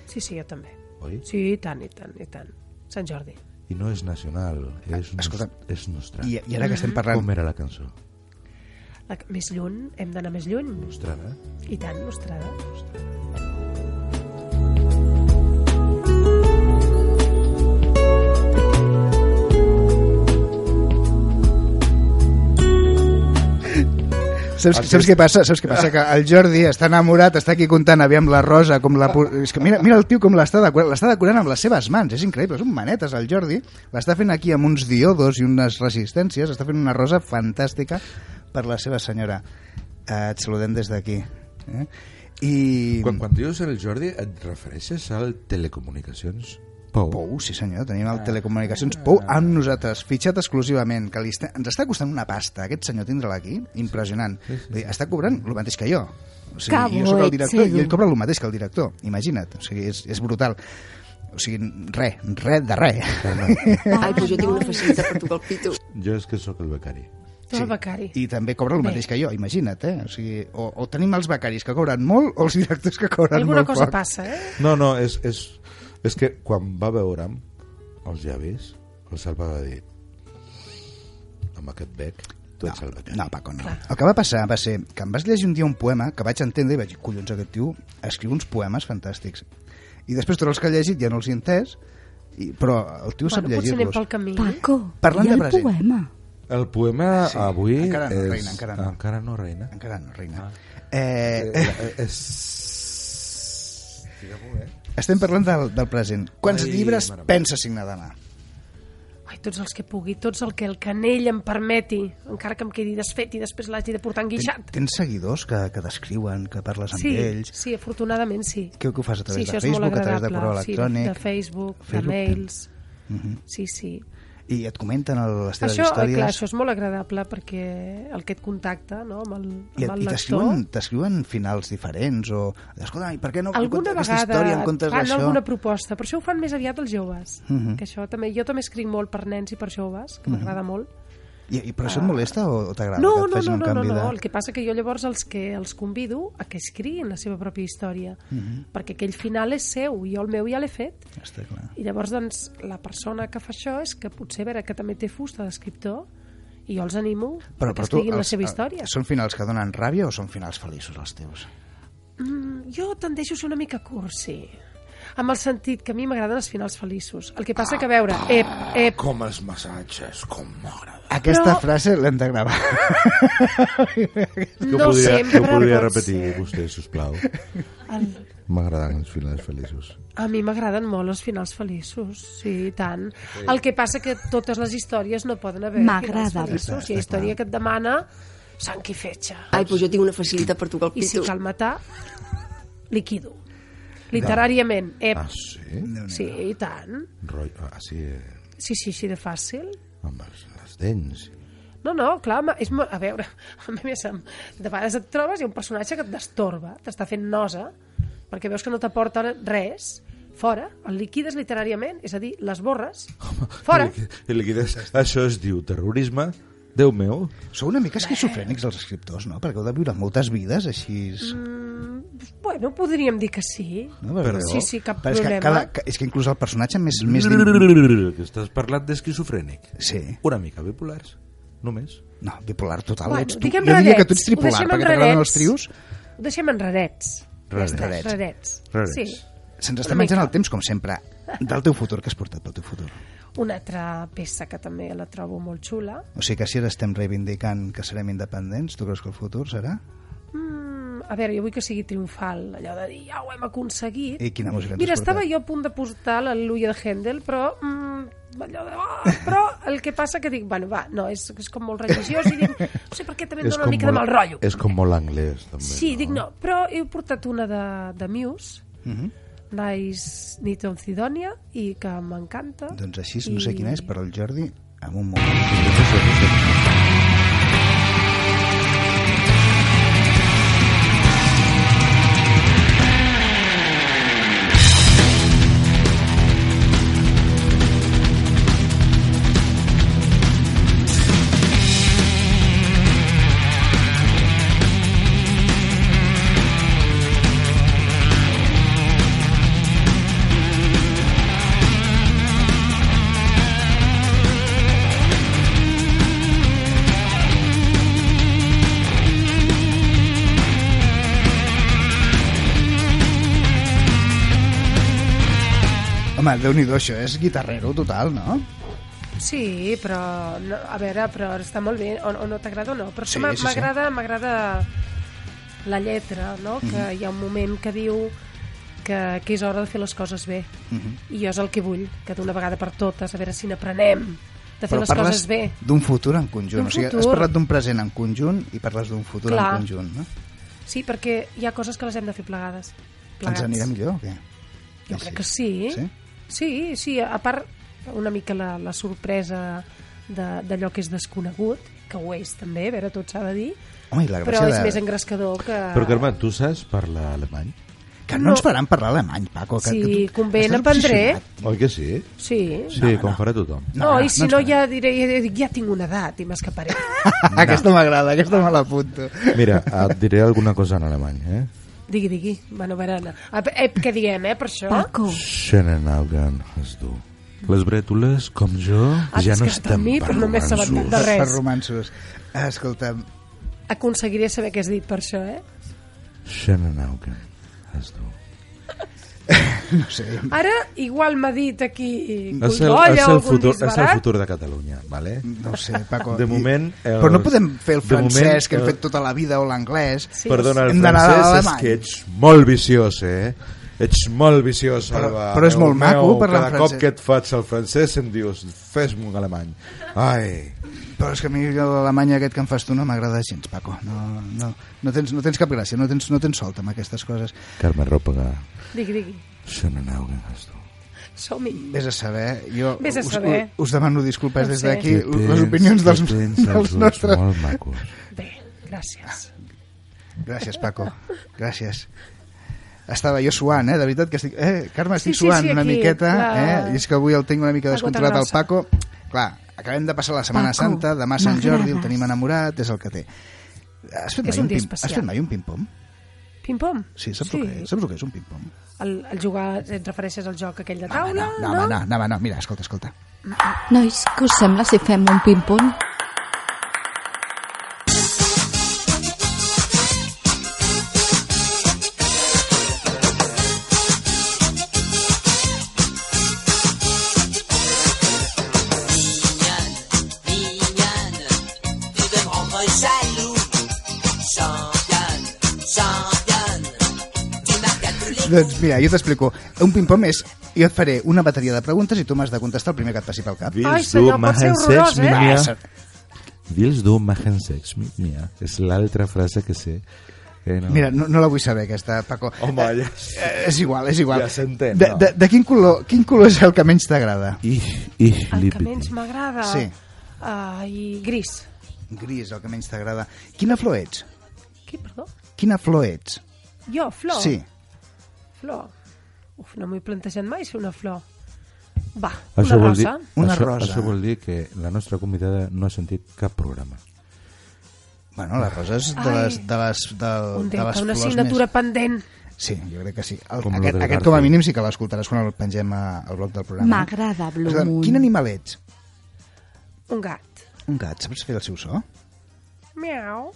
Speaker 4: Sí, sí, jo també.
Speaker 3: Oi?
Speaker 4: Sí, i tant, i tant, i tant. Sant Jordi.
Speaker 3: I no és nacional, és,
Speaker 2: Ah, Escolta'm.
Speaker 3: nos, és nostra.
Speaker 2: I, i ara que estem
Speaker 3: Com
Speaker 2: parlant...
Speaker 3: era la cançó?
Speaker 4: La, més lluny, hem d'anar més lluny.
Speaker 3: Nostrada.
Speaker 4: I tant, nostrada.
Speaker 2: Saps, saps què passa? Saps què passa? Que el Jordi està enamorat, està aquí comptant, aviam la rosa, com la... pu- És que mira, mira el tio com l'està decorant, l'està decorant amb les seves mans, és increïble, són manetes el Jordi, l'està fent aquí amb uns diodos i unes resistències, està fent una rosa fantàstica per la seva senyora. Eh, et saludem des d'aquí. Eh? I...
Speaker 3: Quan, quan dius el Jordi, et refereixes al Telecomunicacions Pou?
Speaker 2: Pou, sí senyor, tenim el Telecomunicacions Pou amb nosaltres, fitxat exclusivament, que li està, ens està costant una pasta, aquest senyor tindre-la aquí, impressionant. Vull dir, està cobrant el mateix que jo. O sigui,
Speaker 5: Que
Speaker 2: jo soc
Speaker 5: bo
Speaker 2: el
Speaker 5: ets,
Speaker 2: director
Speaker 5: Edu.
Speaker 2: i ell cobra el mateix que el director, imagina't, o sigui, és, és brutal. O sigui, res, res de res.
Speaker 7: Ai, però jo tinc una facilitat per tocar el pito.
Speaker 3: Jo és que sóc el becari.
Speaker 4: Tu el becari.
Speaker 2: I també cobra el
Speaker 4: Bé.
Speaker 2: mateix que jo, imagina't, eh? O, sigui, o, o tenim els becaris que cobren molt o els directors que cobren
Speaker 4: Alguna
Speaker 2: molt
Speaker 4: cosa
Speaker 2: poc.
Speaker 4: passa, eh?
Speaker 3: No, no, és, és, és que quan va veure'm els llavis, el Salva va dir amb aquest bec, tu ets el becari.
Speaker 2: No, Paco, no. El que va passar va ser que em vas llegir un dia un poema que vaig entendre i vaig dir, collons, aquest tio escriu uns poemes fantàstics. I després tots els que he llegit ja no els he entès, i, però el tio sap
Speaker 4: Bueno, potser anem
Speaker 2: llegir-los.
Speaker 4: pel camí.
Speaker 5: Paco,
Speaker 2: Parlant
Speaker 5: i
Speaker 2: de
Speaker 5: el
Speaker 2: Brasil.
Speaker 5: poema?
Speaker 3: El poema
Speaker 2: Sí,
Speaker 3: avui
Speaker 2: encara no,
Speaker 3: és...
Speaker 2: reina, encara no. eh,
Speaker 3: Encara no reina.
Speaker 2: Encara no, reina. Eh, eh,
Speaker 3: Eh, és... Diguem-ho, eh?
Speaker 2: Estem parlant del, del present. Quants
Speaker 3: Ai,
Speaker 2: llibres
Speaker 3: mare meva.
Speaker 2: pensa signar demà?
Speaker 4: Ai, tots els que pugui, tots el que el canell em permeti, encara que em quedi desfet i després l'hagi de portar
Speaker 2: Ten,
Speaker 4: enguixat.
Speaker 2: tens seguidors que, que descriuen, que parles amb
Speaker 4: Sí,
Speaker 2: ells?
Speaker 4: sí, afortunadament sí.
Speaker 2: Què, què ho fas a
Speaker 4: Sí,
Speaker 2: través
Speaker 4: això
Speaker 2: de
Speaker 4: és molt
Speaker 2: Facebook, a través de
Speaker 4: agradable.
Speaker 2: correu electrònic?
Speaker 4: Sí, de Facebook, de
Speaker 2: Facebook,
Speaker 4: mails... Sí, sí.
Speaker 2: I et comenten el, les teves
Speaker 4: Això, eh,
Speaker 2: històries?
Speaker 4: clar, això és molt agradable perquè el que et contacta no, amb el,
Speaker 2: I,
Speaker 4: amb el
Speaker 2: i
Speaker 4: lector...
Speaker 2: t'escriuen t'escriuen finals diferents o escolta, i per què no
Speaker 4: alguna
Speaker 2: contes aquesta
Speaker 4: vegada
Speaker 2: història en comptes
Speaker 4: fan
Speaker 2: d'això?
Speaker 4: alguna proposta, però això ho fan més aviat els joves.
Speaker 2: Mhm.
Speaker 4: que això també, jo també escric molt per nens i per joves, que m'agrada molt.
Speaker 2: I, i, però això et molesta o, o t'agrada
Speaker 4: No,
Speaker 2: que et
Speaker 4: no,
Speaker 2: facin
Speaker 4: no,
Speaker 2: un
Speaker 4: no, no,
Speaker 2: canvi
Speaker 4: no, el
Speaker 2: de...
Speaker 4: que passa que jo llavors els que els convido a que escriguin la seva pròpia història, perquè aquell final és seu, jo el meu ja l'he fet,
Speaker 2: Està clar.
Speaker 4: i llavors, doncs, la persona que fa això és que potser, a veure, que també té fusta d'escriptor, i jo els animo a que escriguin la
Speaker 2: eh,
Speaker 4: seva història.
Speaker 2: ah, Són finals que donen ràbia o són finals feliços els teus?
Speaker 4: Mm, jo tendeixo a ser una mica cursi, amb el sentit que a mi m'agraden els finals feliços. El que passa que, a veure, eh, ep, ep,
Speaker 3: Com els massatges, com m'agrada.
Speaker 2: Aquesta
Speaker 4: Però-
Speaker 2: frase l'hem de gravar.
Speaker 3: Que ho
Speaker 4: no
Speaker 3: podria,
Speaker 4: sempre
Speaker 3: que ho podria
Speaker 4: pot
Speaker 3: repetir
Speaker 4: ser.
Speaker 3: vostè, sisplau.
Speaker 4: El-
Speaker 3: M'agraden els finals feliços.
Speaker 4: A mi m'agraden molt els finals feliços, sí, i tant. El que passa que totes les històries no poden haver finals
Speaker 5: M'agrada.
Speaker 4: feliços. Hi ha història que et demana sang i fetge.
Speaker 7: Ai, doncs jo tinc una facilitat per tocar el
Speaker 4: I si
Speaker 7: pito.
Speaker 4: cal matar, liquido. Literàriament, ep,
Speaker 3: Ah, sí?
Speaker 4: sí, i tant.
Speaker 3: Roy, ah, sí, eh,
Speaker 4: Sí, sí, així de fàcil.
Speaker 3: amb els, les dents.
Speaker 4: No, no, clar, ma- és molt... A veure, a mi més em- de vegades et trobes i un personatge que et destorba, t'està fent nosa, perquè veus que no t'aporta res, fora, el liquides literàriament, és a dir, les borres, fora.
Speaker 3: I li quedes, això es diu terrorisme, Déu meu.
Speaker 2: Sou una mica esquizofrènics els escriptors, no? Perquè heu de viure moltes vides així... Mm,
Speaker 4: Bueno, podríem dir que sí.
Speaker 2: no? Perquè-
Speaker 3: perdó.
Speaker 4: Sí, sí, cap
Speaker 2: Però és que,
Speaker 4: problema.
Speaker 2: cada, ca- és que inclús el personatge més... més dim-
Speaker 3: Que estàs parlant d'esquizofrènic.
Speaker 2: sí.
Speaker 3: Una mica bipolars, només.
Speaker 2: No, bipolar total.
Speaker 4: Bueno,
Speaker 2: ets tu. Jo
Speaker 4: diguem
Speaker 2: diria
Speaker 4: rarets,
Speaker 2: que tu ets
Speaker 4: ho
Speaker 2: tripolar,
Speaker 4: deixem en
Speaker 2: perquè t'agraden
Speaker 4: rarets.
Speaker 2: els trios.
Speaker 4: Ho deixem en rarets.
Speaker 3: Rarets.
Speaker 4: Ja està,
Speaker 3: Rarets.
Speaker 4: rarets. Sí.
Speaker 2: Se'ns està
Speaker 4: Una mica.
Speaker 2: menjant el temps, com sempre, del teu futur, que has portat pel teu futur.
Speaker 4: Una altra peça que també la trobo molt xula.
Speaker 2: O sigui que si ara estem reivindicant que serem independents, tu creus que el futur serà?
Speaker 4: Mm, a veure, jo vull que sigui triomfal, allò de dir, ja ho hem aconseguit.
Speaker 2: I quina música ens
Speaker 4: Mira,
Speaker 2: has
Speaker 4: estava
Speaker 2: portat?
Speaker 4: jo a punt de portar l'Al·luia de Händel, però... Mm, allò de, oh, però el que passa que dic, bueno, va, no, és, és com molt religiós i dic, no sé per què també em dóna una mica de mal rotllo.
Speaker 3: És com molt anglès, també.
Speaker 4: Sí, dic no, però he portat una de, de Muse,
Speaker 2: Mhm.
Speaker 4: Nice Nit on Sidonia, i que m'encanta.
Speaker 2: Doncs així, no sé
Speaker 4: I-
Speaker 2: quina és, però el Jordi, en un moment... Home, Déu-n'hi-do, això és guitarrero total, no?
Speaker 4: Sí, però, no, a veure, però està molt bé, o, o no t'agrada o no, però
Speaker 2: Sí,
Speaker 4: sí, m'agrada
Speaker 2: sí, sí.
Speaker 4: m'agrada la lletra, no? que
Speaker 2: Mhm.
Speaker 4: hi ha un moment que diu que, que és hora de fer les coses bé,
Speaker 2: Mhm.
Speaker 4: i jo és el que vull, que d'una vegada per totes, a veure si n'aprenem de fer
Speaker 2: Però
Speaker 4: les
Speaker 2: parles
Speaker 4: coses bé.
Speaker 2: d'un futur en conjunt.
Speaker 4: D'un
Speaker 2: O sigui, has
Speaker 4: futur.
Speaker 2: parlat d'un present en conjunt i parles d'un futur
Speaker 4: Clar.
Speaker 2: en conjunt, no?
Speaker 4: Sí, perquè hi ha coses que les hem de fer plegades. plegats.
Speaker 2: Ens anirà millor o què?
Speaker 4: Jo crec que sí.
Speaker 2: Sí?
Speaker 4: Sí, sí, a part una mica la, la sorpresa de- d'allò que és desconegut, que ho és també, a veure, tot s'ha de dir,
Speaker 2: Home, i la
Speaker 4: però
Speaker 2: gràcia
Speaker 4: és
Speaker 2: de...
Speaker 4: més engrescador que...
Speaker 3: Però, Carme, tu saps parlar alemany?
Speaker 2: Que no, ens faran parlar alemany, Paco. Que,
Speaker 4: Sí,
Speaker 2: que tu-
Speaker 4: convé,
Speaker 2: estàs
Speaker 4: n'aprendré.
Speaker 2: obsessionat.
Speaker 3: Oi que sí?
Speaker 4: Sí.
Speaker 3: Sí, no, com no. farà tothom.
Speaker 4: No, i si
Speaker 2: ens
Speaker 4: no,
Speaker 2: faran.
Speaker 4: ja diré, ja, dic, ja tinc una edat i m'escaparé.
Speaker 2: Aquesta m'agrada, aquesta me l'apunto.
Speaker 3: Mira, et diré alguna cosa en alemany, eh?
Speaker 4: digui, digui, bueno, barana. Ep, ep, què diem, eh, per això?
Speaker 5: Paco,
Speaker 3: Schenenaugen és dur. Les brètoles, com jo,
Speaker 4: Has
Speaker 3: ja no
Speaker 4: gastat
Speaker 3: estan
Speaker 4: amb mi,
Speaker 3: per
Speaker 4: però no m'he assabentat
Speaker 3: romansos.
Speaker 4: de
Speaker 2: Per
Speaker 4: res.
Speaker 2: romansos. Escolta'm,
Speaker 4: Aconseguiré saber què has dit per això, eh?
Speaker 3: Schenenaugen és dur.
Speaker 2: no sé,
Speaker 4: Ara, igual m'ha dit aquí...
Speaker 3: És el, és
Speaker 4: Goldolla o
Speaker 3: el,
Speaker 4: algun
Speaker 3: futur, és el
Speaker 4: disbarat.
Speaker 3: futur de Catalunya, vale?
Speaker 2: no ho sé, Paco.
Speaker 3: De
Speaker 2: I-
Speaker 3: moment, els-
Speaker 2: Però no podem fer el
Speaker 3: de moment,
Speaker 2: francès que hem
Speaker 3: eh,
Speaker 2: fet tota la vida o l'anglès.
Speaker 4: Sí.
Speaker 3: Perdona, el
Speaker 2: Hem d'anar a
Speaker 3: francès és
Speaker 2: l'alemany.
Speaker 3: que ets molt viciós, eh? Ets molt viciós, Alba.
Speaker 2: però és
Speaker 3: Déu
Speaker 2: molt maco
Speaker 3: meu,
Speaker 2: parlar en
Speaker 3: Cada cop
Speaker 2: francès.
Speaker 3: que et faig el francès em dius, fes-me un alemany. Ai,
Speaker 2: Però és que a mi l'Alemanya aquest que em fas tu no m'agrada gens, Paco. No, no, no, tens, no tens cap gràcia, no tens, no tens solta amb aquestes coses.
Speaker 3: Carme Ròpega,
Speaker 4: Digui, digui.
Speaker 3: se n'anau que fas tu.
Speaker 4: Som-hi.
Speaker 2: Vés a saber, jo
Speaker 4: Vés a
Speaker 2: us,
Speaker 4: saber.
Speaker 2: us demano disculpes
Speaker 4: No
Speaker 2: des
Speaker 4: sé.
Speaker 2: d'aquí,
Speaker 3: Que tens-
Speaker 2: les opinions
Speaker 3: que
Speaker 2: dels,
Speaker 3: tens els
Speaker 2: dels
Speaker 3: ulls
Speaker 2: nostres...
Speaker 3: Molt macos.
Speaker 4: Bé, gràcies.
Speaker 2: Gràcies, Paco, gràcies. Estava jo suant, eh? de veritat que estic... Eh, Carme, estic
Speaker 4: Sí, sí,
Speaker 2: suant
Speaker 4: sí,
Speaker 2: una
Speaker 4: aquí,
Speaker 2: miqueta,
Speaker 4: la-
Speaker 2: eh? i és que avui el tinc una mica
Speaker 4: la
Speaker 2: descontrolat al
Speaker 4: gota
Speaker 2: Paco. Clar, acabem de passar la Setmana
Speaker 5: Paco,
Speaker 2: Santa, demà Sant Jordi, el
Speaker 5: m'agrades.
Speaker 2: tenim enamorat, és el que té. Has fet,
Speaker 4: És
Speaker 2: mai
Speaker 4: un
Speaker 2: un,
Speaker 4: dia
Speaker 2: pim... Has
Speaker 4: especial.
Speaker 2: fet mai un ping-pong?
Speaker 4: Pim-pom?
Speaker 2: Sí, saps, El que, és? saps el que és un ping-pong?
Speaker 4: El, el jugar, et refereixes al joc aquell de
Speaker 2: Ah, No, home, no,
Speaker 4: taula?
Speaker 2: no, no, no, home, no, mira, escolta, escolta.
Speaker 5: Nois, que us sembla si fem un ping-pong?
Speaker 8: mignonne, mignonne, tu de me rendre jaloux. Championne, championne, tu marques à tous les
Speaker 2: Doncs mira, jo t'explico. Un ping-pong és... Jo et faré una bateria de preguntes i tu m'has de contestar el primer que et passi pel cap.
Speaker 4: Ai, senyor, pot ser horrorós, eh?
Speaker 2: Ah,
Speaker 3: mia.
Speaker 2: ser-
Speaker 3: Dils du magen sex mit mia. És l'altra frase que sé. Eh, no.
Speaker 2: Mira, no, no la vull saber, aquesta, Paco.
Speaker 3: Home, ja...
Speaker 2: Eh, és igual, és igual.
Speaker 3: Ja s'entén,
Speaker 2: De,
Speaker 3: no?
Speaker 2: de, de quin, color, quin color és el que menys t'agrada?
Speaker 3: Ich, ich,
Speaker 4: El que
Speaker 3: liebe
Speaker 4: menys
Speaker 3: dich.
Speaker 4: m'agrada...
Speaker 2: Sí.
Speaker 4: Ai, gris.
Speaker 2: Gris, el que menys t'agrada. Quina flor ets?
Speaker 4: Qui, perdó?
Speaker 2: Quina flor ets?
Speaker 4: Jo, flor?
Speaker 2: Sí.
Speaker 4: Flor. Uf, no m'ho he plantejat mai ser una flor. Va,
Speaker 3: Això
Speaker 4: una
Speaker 3: vol dir,
Speaker 4: rosa.
Speaker 2: Una
Speaker 3: això,
Speaker 2: rosa.
Speaker 3: Això vol dir que la nostra convidada no ha sentit cap programa.
Speaker 2: Bueno, les roses de
Speaker 4: Ai.
Speaker 2: les, de les, de,
Speaker 4: Un
Speaker 2: de les
Speaker 4: deute, una
Speaker 2: flors
Speaker 4: assignatura pendent.
Speaker 2: més... Sí, jo crec que sí. El, aquest,
Speaker 3: Com nosaltres,
Speaker 2: aquest com a
Speaker 3: Garfield.
Speaker 2: mínim sí que l'escoltaràs quan el pengem a- al bloc del programa.
Speaker 5: M'agrada,
Speaker 2: Escolta'm,
Speaker 5: Blum.
Speaker 2: Quin animal ets?
Speaker 4: Un gat.
Speaker 2: Un gat. Saps fer el seu so?
Speaker 4: Miau.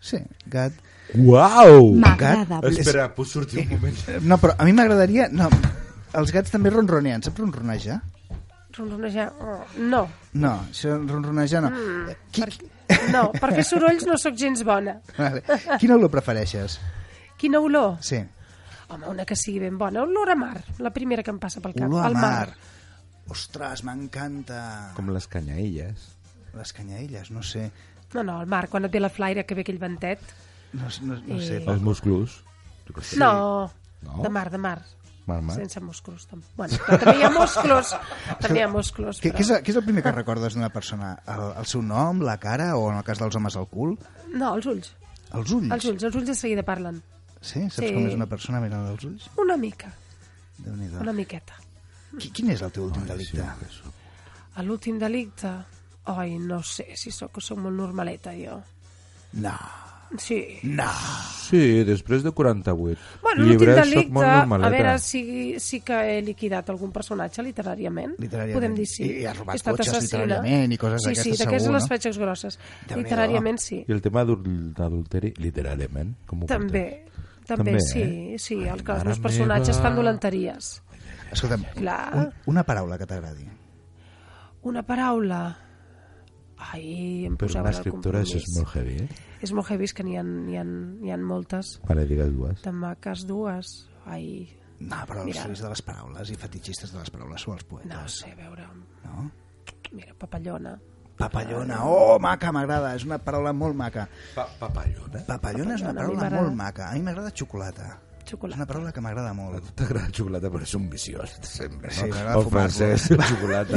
Speaker 2: Sí, gat.
Speaker 3: Uau!
Speaker 5: M'agrada, Blum.
Speaker 3: Espera, pot sortir un moment.
Speaker 2: No, però a mi m'agradaria... No, els gats també ronroneen. Saps ronronejar?
Speaker 4: Ronronejar. Oh, no.
Speaker 2: No, això ronronejar no. Mm, Qui,
Speaker 4: No, perquè sorolls no sóc gens bona.
Speaker 2: vale. Quina olor prefereixes?
Speaker 4: Quina olor?
Speaker 2: Sí,
Speaker 4: Home, una que sigui ben bona. Olor a mar, la primera que em passa pel cap.
Speaker 2: olor a
Speaker 4: al
Speaker 2: mar. Ostres, m'encanta.
Speaker 3: Com les canyaelles.
Speaker 2: Les canyaelles, no sé.
Speaker 4: No, no, al mar, quan et ve la flaire que ve aquell ventet.
Speaker 2: No, no, no sé.
Speaker 3: Els musclos.
Speaker 4: Sí. No,
Speaker 3: No?
Speaker 4: de mar, de mar.
Speaker 3: Mal, mal.
Speaker 4: Sense musclos. Tam... Bueno, però també hi ha musclos. també hi ha musclos.
Speaker 2: Què,
Speaker 4: Però...
Speaker 2: què, és, el- què és el primer que recordes d'una persona? El, el seu nom, la cara o, en el cas dels homes, el cul?
Speaker 4: No, els ulls.
Speaker 2: Els ulls?
Speaker 4: Els ulls, els ulls de seguida parlen.
Speaker 2: Sí? Saps
Speaker 4: Sí.
Speaker 2: com és una persona mirant els ulls?
Speaker 4: Una mica,
Speaker 2: Déu-n'hi-do.
Speaker 4: una miqueta.
Speaker 2: Qui- Quin és el teu últim delicte?
Speaker 4: A l'últim delicte... Ai, no sé si sóc, sóc molt normaleta, jo.
Speaker 2: No.
Speaker 4: Sí.
Speaker 3: Sí, després de 48.
Speaker 4: Bueno, l'últim
Speaker 3: llibres, soc
Speaker 4: delicte,
Speaker 3: molt normaleta.
Speaker 4: a veure si, sí que he liquidat algun personatge literàriament.
Speaker 2: Literàriament.
Speaker 4: Podem dir sí.
Speaker 2: I- i has robat
Speaker 4: He estat
Speaker 2: cotxes
Speaker 4: assassina.
Speaker 2: literàriament i coses
Speaker 4: sí,
Speaker 2: d'aquestes
Speaker 4: Sí, d'aquestes
Speaker 2: segur,
Speaker 4: les
Speaker 2: no?
Speaker 4: faig grosses.
Speaker 2: Déu-n'hi-do.
Speaker 4: literàriament sí.
Speaker 3: I el tema d'adul- d'adulteri, literalment, com ho
Speaker 4: També, també,
Speaker 3: També,
Speaker 4: sí,
Speaker 3: eh?
Speaker 4: sí,
Speaker 3: Ai,
Speaker 4: el que els
Speaker 3: mare
Speaker 4: meus personatges
Speaker 3: meva.
Speaker 4: fan dolenteries.
Speaker 2: Escolta'm,
Speaker 4: Clar.
Speaker 2: un, una paraula que t'agradi.
Speaker 4: Una paraula... Ai, em
Speaker 3: portes? Per
Speaker 4: posava
Speaker 3: una
Speaker 4: en el
Speaker 3: escriptora això és
Speaker 4: compromís.
Speaker 3: molt heavy, eh?
Speaker 4: És molt heavy, és que n'hi ha, n'hi ha, n'hi ha moltes.
Speaker 3: Vale, digues dues.
Speaker 4: De maques dues. Ai,
Speaker 2: No, però els
Speaker 4: Mira.
Speaker 2: fills de les paraules i fetitxistes de les paraules són els poetes.
Speaker 4: no ho sé, a veure...
Speaker 2: No?
Speaker 4: Mira, papallona.
Speaker 2: Papallona. Oh, maca, m'agrada. És una paraula molt maca.
Speaker 3: Pa papallona?
Speaker 2: Papallona és una
Speaker 4: Papallona, a mi
Speaker 2: paraula
Speaker 4: m'agrada.
Speaker 2: molt maca. A mi m'agrada xocolata. És
Speaker 4: Xocolata.
Speaker 2: una paraula que m'agrada
Speaker 3: A
Speaker 2: molt.
Speaker 3: tu t'agrada la xocolata, però és un viciós, sempre, no?
Speaker 2: Sí, m'agrada
Speaker 3: el
Speaker 2: fumar-lo.
Speaker 3: francès, la xocolata.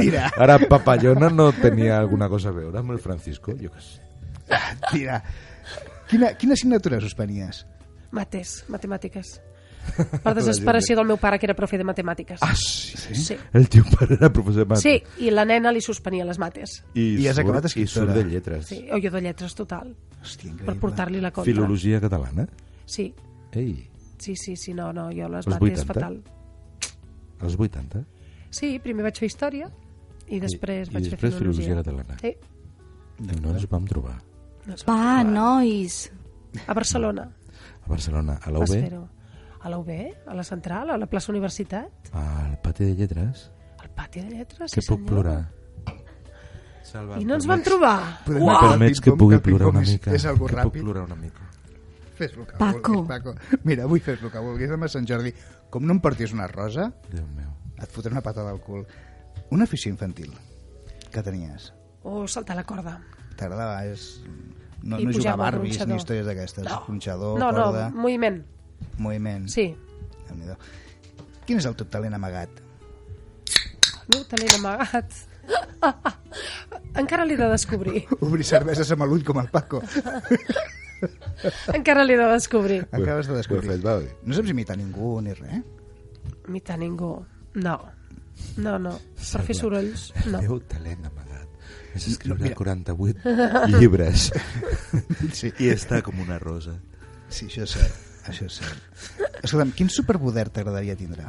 Speaker 2: Mira.
Speaker 3: Ara, papallona no tenia alguna cosa a veure amb el Francisco, jo què sé.
Speaker 2: Tira. Quina, quina assignatura suspenies?
Speaker 4: Mates, matemàtiques. Per desesperació del meu pare, que era profe de matemàtiques.
Speaker 3: Ah, sí?
Speaker 4: Sí.
Speaker 3: El teu pare era professor de mates.
Speaker 4: Sí, i la nena li suspenia les mates.
Speaker 2: I has
Speaker 3: surt-
Speaker 2: acabat
Speaker 3: I
Speaker 2: escriptora.
Speaker 3: surt de lletres.
Speaker 4: Sí, o jo de lletres total,
Speaker 2: Hòstia,
Speaker 4: per
Speaker 2: increïble.
Speaker 4: portar-li la contra.
Speaker 3: Filologia catalana.
Speaker 4: Sí,
Speaker 3: Ei,
Speaker 4: sí, sí, sí, no, no, jo les
Speaker 3: Els 80?
Speaker 4: mates fatal.
Speaker 3: als 80.
Speaker 4: Sí, primer vaig fer història i després
Speaker 3: I- i
Speaker 4: vaig
Speaker 3: després
Speaker 4: fer
Speaker 3: filologia
Speaker 4: filologia.
Speaker 3: catalana.
Speaker 4: Sí,
Speaker 3: No ens vam trobar.
Speaker 4: doncs,
Speaker 5: Va, nois.
Speaker 4: a Barcelona.
Speaker 3: A Barcelona, a la
Speaker 4: Vas
Speaker 3: UB,
Speaker 4: fer-ho. A la UB, a la Central, a la plaça Universitat,
Speaker 3: al pati de lletres,
Speaker 4: al pati de lletres,
Speaker 3: que
Speaker 4: sí
Speaker 3: puc
Speaker 4: senyor.
Speaker 3: plorar. Salva,
Speaker 4: I no ens van trobar.
Speaker 2: Podem
Speaker 3: Em
Speaker 2: anar al
Speaker 3: permets que
Speaker 2: ping-pong,
Speaker 3: pugui
Speaker 2: el
Speaker 3: plorar
Speaker 2: ping-pong
Speaker 3: una
Speaker 2: és-
Speaker 3: mica.
Speaker 2: És algo
Speaker 3: que puc
Speaker 2: ràpid.
Speaker 3: plorar una mica.
Speaker 2: Fes el que
Speaker 5: Paco.
Speaker 2: vulguis, Paco. Mira, vull fer el que vulguis. Demà és Sant Jordi, com no em portis una rosa,
Speaker 3: Déu meu.
Speaker 2: et fotré una patada al cul. Una afició infantil que tenies.
Speaker 4: O Oh, saltar la corda.
Speaker 2: T'agradava? És... No,
Speaker 4: I
Speaker 2: no jugar a
Speaker 4: pujava al
Speaker 2: Barbies ni
Speaker 4: gronxador.
Speaker 2: històries d'aquestes. No. Punxador,
Speaker 4: no, no,
Speaker 2: corda,
Speaker 4: moviment.
Speaker 2: moviment.
Speaker 4: Sí.
Speaker 2: Déu-n'hi-do. Quin és el teu talent amagat?
Speaker 4: No ho tenen amagat. Encara l'he de descobrir.
Speaker 2: Obrir cerveses amb l'ull com el Paco.
Speaker 4: Encara l'he de descobrir.
Speaker 2: Acabes de
Speaker 9: Ho he
Speaker 2: descobrir.
Speaker 9: fet, va bé.
Speaker 2: No saps imitar ningú ni res.
Speaker 4: Mita ningú. No. No, no. Per fer sorolls,
Speaker 3: El
Speaker 4: no.
Speaker 3: teu talent amagat és escriure
Speaker 2: mira.
Speaker 3: 48 llibres
Speaker 2: Sí,
Speaker 3: i està com una rosa.
Speaker 2: sí això és cert. Això és cert. Escolta'm, quin superpoder t'agradaria tindre?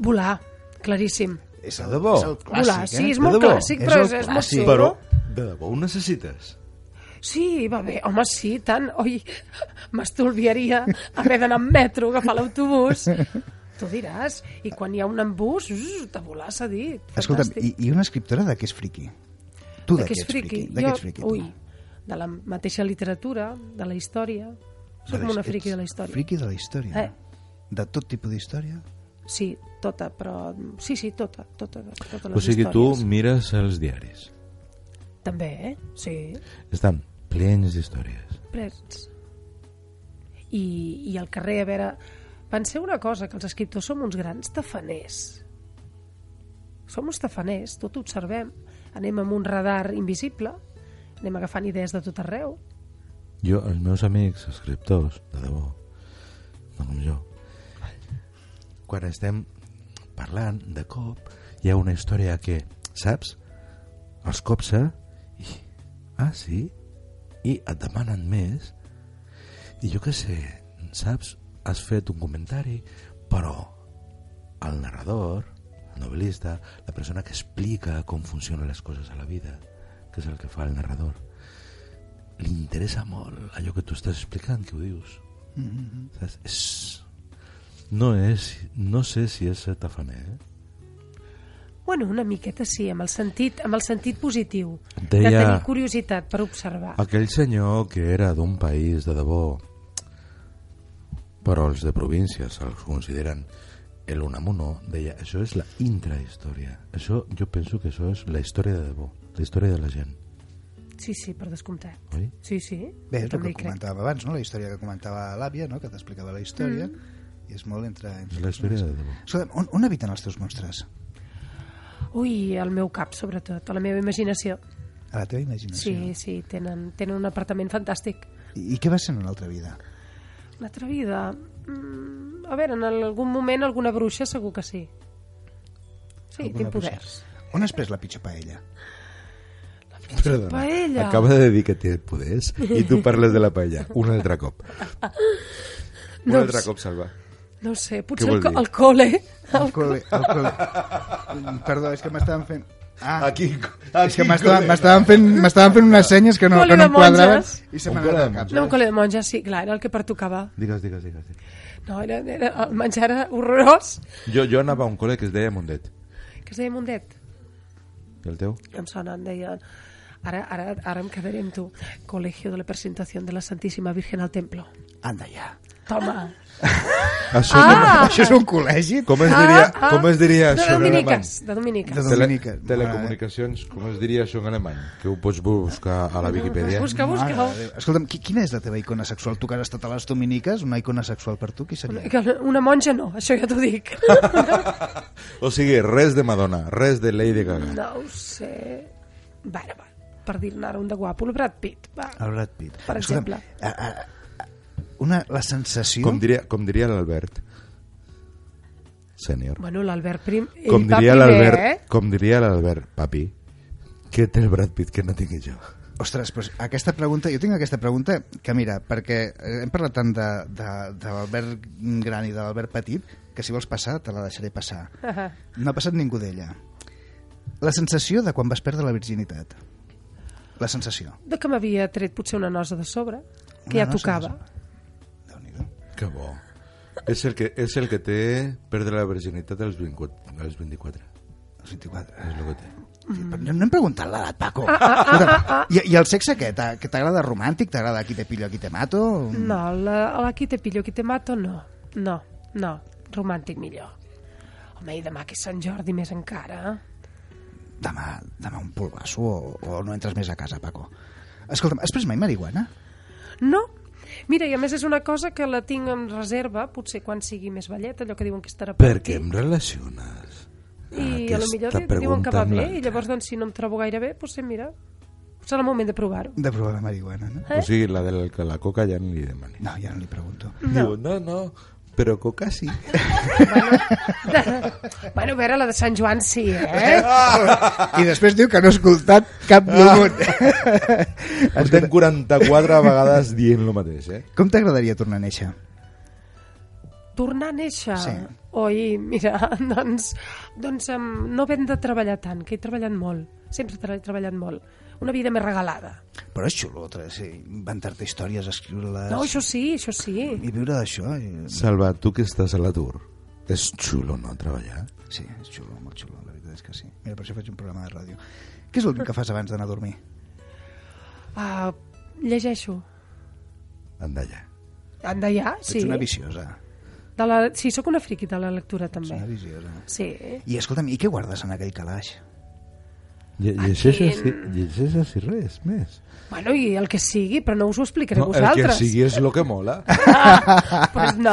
Speaker 4: Volar, claríssim.
Speaker 2: És
Speaker 3: De debò?
Speaker 2: És el clàssic,
Speaker 4: Volar, sí,
Speaker 2: eh?
Speaker 4: és molt
Speaker 3: De debò?
Speaker 4: clàssic,
Speaker 2: És
Speaker 4: però és,
Speaker 2: el
Speaker 4: és molt
Speaker 2: clàssic.
Speaker 4: xulo.
Speaker 3: Però de debò ho necessites?
Speaker 4: Sí, va bé, home, sí, tant. Oi, m'estolviaria haver d'anar amb metro, agafar l'autobús. Tu diràs, i quan hi ha un embús, zzz, de volar s'ha dit.
Speaker 2: Escolta'm,
Speaker 4: Fantàstic.
Speaker 2: i, i una escriptora de què és friqui? Tu de què ets friqui? De què
Speaker 4: Jo-
Speaker 2: ets friqui? tu?
Speaker 4: Ui, de la mateixa literatura, de la història.
Speaker 2: De
Speaker 4: Soc
Speaker 2: la-
Speaker 4: una friqui
Speaker 2: ets
Speaker 4: de la història.
Speaker 2: Friqui de la història?
Speaker 4: Eh.
Speaker 2: De tot tipus d'història?
Speaker 4: Sí, tota, però... Sí, sí, tota, tota, totes les
Speaker 3: O sigui, tu
Speaker 4: històries.
Speaker 3: mires els diaris.
Speaker 4: També, eh? Sí,
Speaker 3: Estan plens d'històries.
Speaker 4: prens. I, I al carrer, a veure... Penseu una cosa, que els escriptors som uns grans tafaners. Som uns tafaners, tot ho observem. Anem amb un radar invisible, anem agafant idees de tot arreu.
Speaker 3: Jo, els meus amics escriptors, de debò, no com jo, quan estem parlant, de cop, hi ha una història que, saps? Els copsa i... Ah, sí? I et demanen més. I jo què sé, saps? Has fet un comentari, però el narrador, el novel·lista, la persona que explica com funcionen les coses a la vida, que és el que fa el narrador, li interessa molt allò que tu estàs explicant, que ho dius. Mm -hmm. Saps? És... No és... No sé si és ser tafaner, eh?
Speaker 4: Bueno, una miqueta sí, amb el sentit, amb el sentit positiu.
Speaker 3: Deia-
Speaker 4: De tenir curiositat per observar.
Speaker 3: Aquell senyor que era d'un país de debò, però els de províncies els consideren el Unamuno, deia, això és la intrahistòria. Això, jo penso que això és la història de debò, la història de la gent,
Speaker 4: Sí, sí, per descomptat.
Speaker 3: oi?
Speaker 4: Sí, sí.
Speaker 2: Bé, és
Speaker 4: jo
Speaker 2: el
Speaker 4: també
Speaker 2: que
Speaker 4: hi crec.
Speaker 2: comentàvem abans, no? la història que comentava l'àvia, no? que t'explicava la història,
Speaker 4: Mm.
Speaker 2: i és molt entre...
Speaker 3: És
Speaker 2: entre
Speaker 3: la història de debò.
Speaker 2: Escolta'm, on, on habiten els teus monstres?
Speaker 4: Ui, al meu cap, sobretot, a la meva imaginació.
Speaker 2: A la teva
Speaker 4: Sí,
Speaker 2: imaginació?
Speaker 4: sí, tenen, tenen un apartament fantàstic.
Speaker 2: I, i què va ser en una altra vida?
Speaker 4: Una altra vida... Mm, a veure, en algun moment alguna bruixa segur que sí. Sí,
Speaker 2: Alguna
Speaker 4: tinc
Speaker 2: cosa?
Speaker 4: poders.
Speaker 2: On has pres la pitjor paella?
Speaker 9: Perdona,
Speaker 4: Paella.
Speaker 9: acaba de dir que té poders i tu parles de la paella. Un altre cop. Un
Speaker 4: No ho
Speaker 9: altre
Speaker 4: sé.
Speaker 9: cop, Salva.
Speaker 4: No ho sé, potser
Speaker 9: vol
Speaker 4: el, co
Speaker 9: dir?
Speaker 4: el col·le.
Speaker 2: El col·le, el col·le. Mm, Perdó, és que m'estaven fent... Ah,
Speaker 9: Aquí,
Speaker 2: és que m'estaven m'estaven fent, m'estaven fent unes senyes que no,
Speaker 4: Col·le
Speaker 2: que no
Speaker 4: de
Speaker 2: em quadraven
Speaker 4: monges.
Speaker 2: i se
Speaker 9: Un
Speaker 2: m'ha
Speaker 9: col·le
Speaker 2: anat al
Speaker 9: de
Speaker 2: cap.
Speaker 4: No, un col·le de monges, sí, clar, era el que pertocava.
Speaker 3: Digues, digues, digues. digues.
Speaker 4: No, era, era, el menjar era horrorós,
Speaker 3: Jo, jo anava a un col·le que es deia Mundet.
Speaker 4: que es deia Mundet.
Speaker 3: I el teu?
Speaker 4: em sona, em deien... Ara, ara, ara em quedaré amb tu. Colegio de la Presentación de la Santísima Virgen al Templo.
Speaker 2: Anda ja.
Speaker 4: Toma.
Speaker 9: Això ah!
Speaker 2: Això és un col·legi?
Speaker 9: Com es diria, com es diria
Speaker 4: Ah! de
Speaker 9: això en alemany?
Speaker 4: dominiques, de dominiques.
Speaker 2: De
Speaker 9: Tele,
Speaker 2: Dominica.
Speaker 9: telecomunicacions, com es diria això en alemany? Que ho pots buscar a la Viquipèdia.
Speaker 4: Busca, busca.
Speaker 2: Mare de Déu. Escolta'm, qui- quina és la teva icona sexual? Tu que has estat a les dominiques, una icona sexual per tu, qui seria?
Speaker 4: Que Una monja no, això ja t'ho dic.
Speaker 9: O sigui, res de Madonna, res de Lady
Speaker 2: Mm.
Speaker 9: Gaga.
Speaker 4: No ho sé. Va, ara va. Per dir-ne ara un de guapo, el Brad Pitt. Va.
Speaker 2: El Brad Pitt. eh,
Speaker 4: Per exemple.
Speaker 2: A, a, a, una, la sensació...
Speaker 9: Com diria, com diria l'Albert. Sènior.
Speaker 4: Bueno, l'Albert Prim... ell
Speaker 9: Com
Speaker 4: va
Speaker 9: diria
Speaker 4: primer,
Speaker 9: l'Albert,
Speaker 4: eh?
Speaker 9: com diria l'Albert, papi, què té el Brad Pitt que no tingui jo?
Speaker 2: Ostres, però aquesta pregunta, jo tinc aquesta pregunta que mira, perquè eh, hem parlat tant de, de, de l'Albert Gran i de l'Albert Petit, que si vols passar te la deixaré passar.
Speaker 4: Ahà.
Speaker 2: No ha passat ningú d'ella. La sensació de quan vas perdre la virginitat. La sensació.
Speaker 4: De que m'havia tret potser una nosa de sobre, que
Speaker 2: Una
Speaker 4: ja
Speaker 2: nosa de
Speaker 4: tocava.
Speaker 2: sobre. Déu-n'hi-do.
Speaker 3: Que bo. És el que, és el que té perdre la virginitat als, 24, als 24.
Speaker 2: Els 24.
Speaker 3: És el que té.
Speaker 2: No, no hem preguntat l'edat, Paco. Escolta, I, I el sexe què? T'a- que T'agrada romàntic? T'agrada qui te pillo, qui te mato?
Speaker 4: Mm. No, la, la qui te pillo, qui te mato, no. No, no. Romàntic millor. Home, i demà que és Sant Jordi més encara. eh?
Speaker 2: Demà, demà un polvasso o, o no entres més a casa, Paco. Escolta'm, has pres mai marihuana?
Speaker 4: No. Mira, i a més és una cosa que la tinc en reserva, potser quan sigui més velleta, allò que diuen que és terapèutic.
Speaker 3: Per què em relaciones?
Speaker 4: I a lo millor di- diuen que va bé, i llavors doncs, si no em trobo gaire bé, potser mira, serà el moment de provar-ho.
Speaker 2: De provar la marihuana, no?
Speaker 4: Eh?
Speaker 3: O sigui, la de la, la coca ja no li demani.
Speaker 2: No, ja no li pregunto.
Speaker 3: No. Diu, no, no, però coca sí.
Speaker 4: bueno, a veure, la de Sant Joan sí, eh?
Speaker 2: I després diu que no ha escoltat cap
Speaker 4: Ah.
Speaker 2: número.
Speaker 3: Estem 44 vegades dient el mateix, eh?
Speaker 2: Com t'agradaria tornar a néixer?
Speaker 4: Tornar a néixer.
Speaker 2: Sí.
Speaker 4: Oi, mira, doncs, doncs em, no havent de treballar tant, que he treballat molt. Sempre he treballat molt. Una vida més regalada.
Speaker 2: Però és xulo, tres, sí, inventar-te històries, escriure-les...
Speaker 4: No, això sí, això sí.
Speaker 2: I viure d'això... i-
Speaker 3: Salva, tu que estàs a l'atur, és xulo no treballar?
Speaker 2: Sí, és xulo, molt xulo, la veritat és que sí. Mira, per això faig un programa de ràdio. Què és l'últim que fas abans d'anar a dormir?
Speaker 4: Ah, llegeixo.
Speaker 3: Endallar.
Speaker 4: Endeiar, sí.
Speaker 2: Ets una viciosa.
Speaker 4: De la... Sí, sóc una friqui de la lectura,
Speaker 2: Ets una
Speaker 4: també.
Speaker 2: viciosa.
Speaker 4: Sí.
Speaker 2: I escolta'm, i què guardes en aquell calaix?
Speaker 3: Lle- Llegeixes i, llegeixes i res més.
Speaker 4: Bueno, i el que sigui, però no us ho explicaré a
Speaker 3: el que
Speaker 4: vosaltres.
Speaker 3: sigui és el que mola.
Speaker 4: Pues no.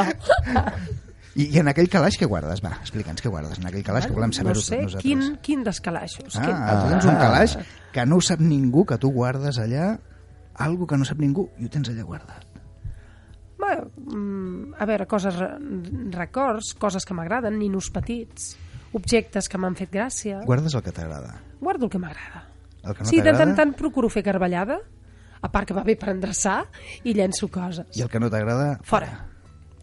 Speaker 2: I, I en aquell calaix què guardes? Va, explica'ns què guardes en aquell calaix, que volem saber-ho
Speaker 4: no sé,
Speaker 2: tot nosaltres.
Speaker 4: quin, quin dels calaixos?
Speaker 2: Ah,
Speaker 4: Quin...
Speaker 2: tu tens un calaix que no ho sap ningú, que tu guardes allà algo que no sap ningú i ho tens allà guardat. ah.
Speaker 4: Va, mm, a veure, coses, re- records, coses que m'agraden, ninos petits, objectes que m'han fet gràcia.
Speaker 2: Guardes el que t'agrada.
Speaker 4: Guardo el que m'agrada.
Speaker 2: El que no
Speaker 4: sí, de tant
Speaker 2: t'agrada
Speaker 4: en tant procuro fer garballada, a part que va bé per endreçar, i llenço coses.
Speaker 2: i el que no t'agrada...
Speaker 4: Fora.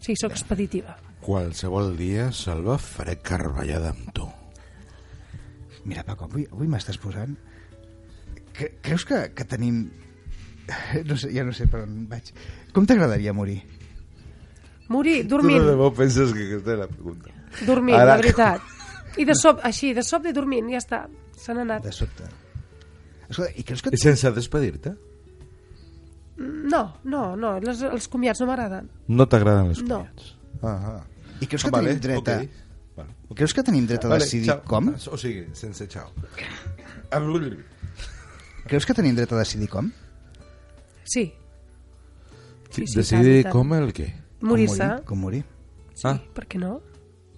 Speaker 4: Sí, sóc expeditiva.
Speaker 3: Qualsevol dia, Salva, faré carballada amb tu.
Speaker 2: Mira, Paco, avui, avui m'estàs posant... Cre creus que, que tenim... No sé, ja no sé per on vaig. Com t'agradaria morir?
Speaker 4: Morir,
Speaker 3: Tu de
Speaker 4: dormint.
Speaker 3: debò penses que aquesta és la pregunta.
Speaker 4: Dormint,
Speaker 3: Ara-
Speaker 4: Ara... la veritat. I de sobte, així, de sobte dormint, ja està. Se n'ha anat.
Speaker 2: De sobte. Escolta, i creus que...
Speaker 3: I sense despedir-te?
Speaker 4: No, no, no, les, els comiats no m'agraden.
Speaker 3: No t'agraden les
Speaker 4: No.
Speaker 3: collets? Ah, ah.
Speaker 2: I creus que tenim dret a...
Speaker 3: ok. Vale.
Speaker 2: Creus que tenim dret a decidir
Speaker 3: ciao. Ah,
Speaker 2: com?
Speaker 3: O sigui, sense xau. Abrul.
Speaker 2: Creus que tenim dret a decidir com?
Speaker 4: Sí, Sí, sí, tant,
Speaker 3: Decidir
Speaker 4: tant.
Speaker 3: com el què?
Speaker 4: morir-se.
Speaker 2: Com morir.
Speaker 4: Sí,
Speaker 3: Ah.
Speaker 4: per què no?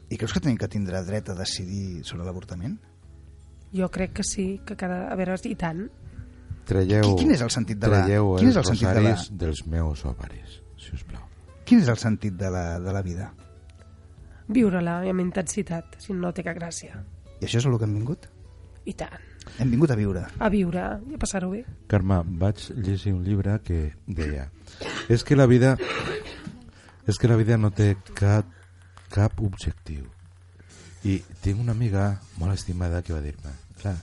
Speaker 2: I creus que tenim que tindrà dret a decidir sobre l'avortament?
Speaker 4: Jo crec que sí, que cada... A veure, i tant.
Speaker 3: Traieu,
Speaker 2: Qui- quin és el sentit de la-
Speaker 3: traieu
Speaker 2: quin és el
Speaker 3: els
Speaker 2: sentit de la-
Speaker 3: rosaris dels meus ovaris, si us plau.
Speaker 2: Quin és el sentit de la, de la vida?
Speaker 4: Viure-la i amb intensitat, si no no té cap gràcia.
Speaker 2: I això és el que hem vingut?
Speaker 4: I tant.
Speaker 2: Hem vingut a viure.
Speaker 4: A viure i a passar-ho bé.
Speaker 3: Carme, vaig llegir un llibre que deia és que la vida és que la vida no té cap, cap objectiu i tinc una amiga molt estimada que va dir-me clar,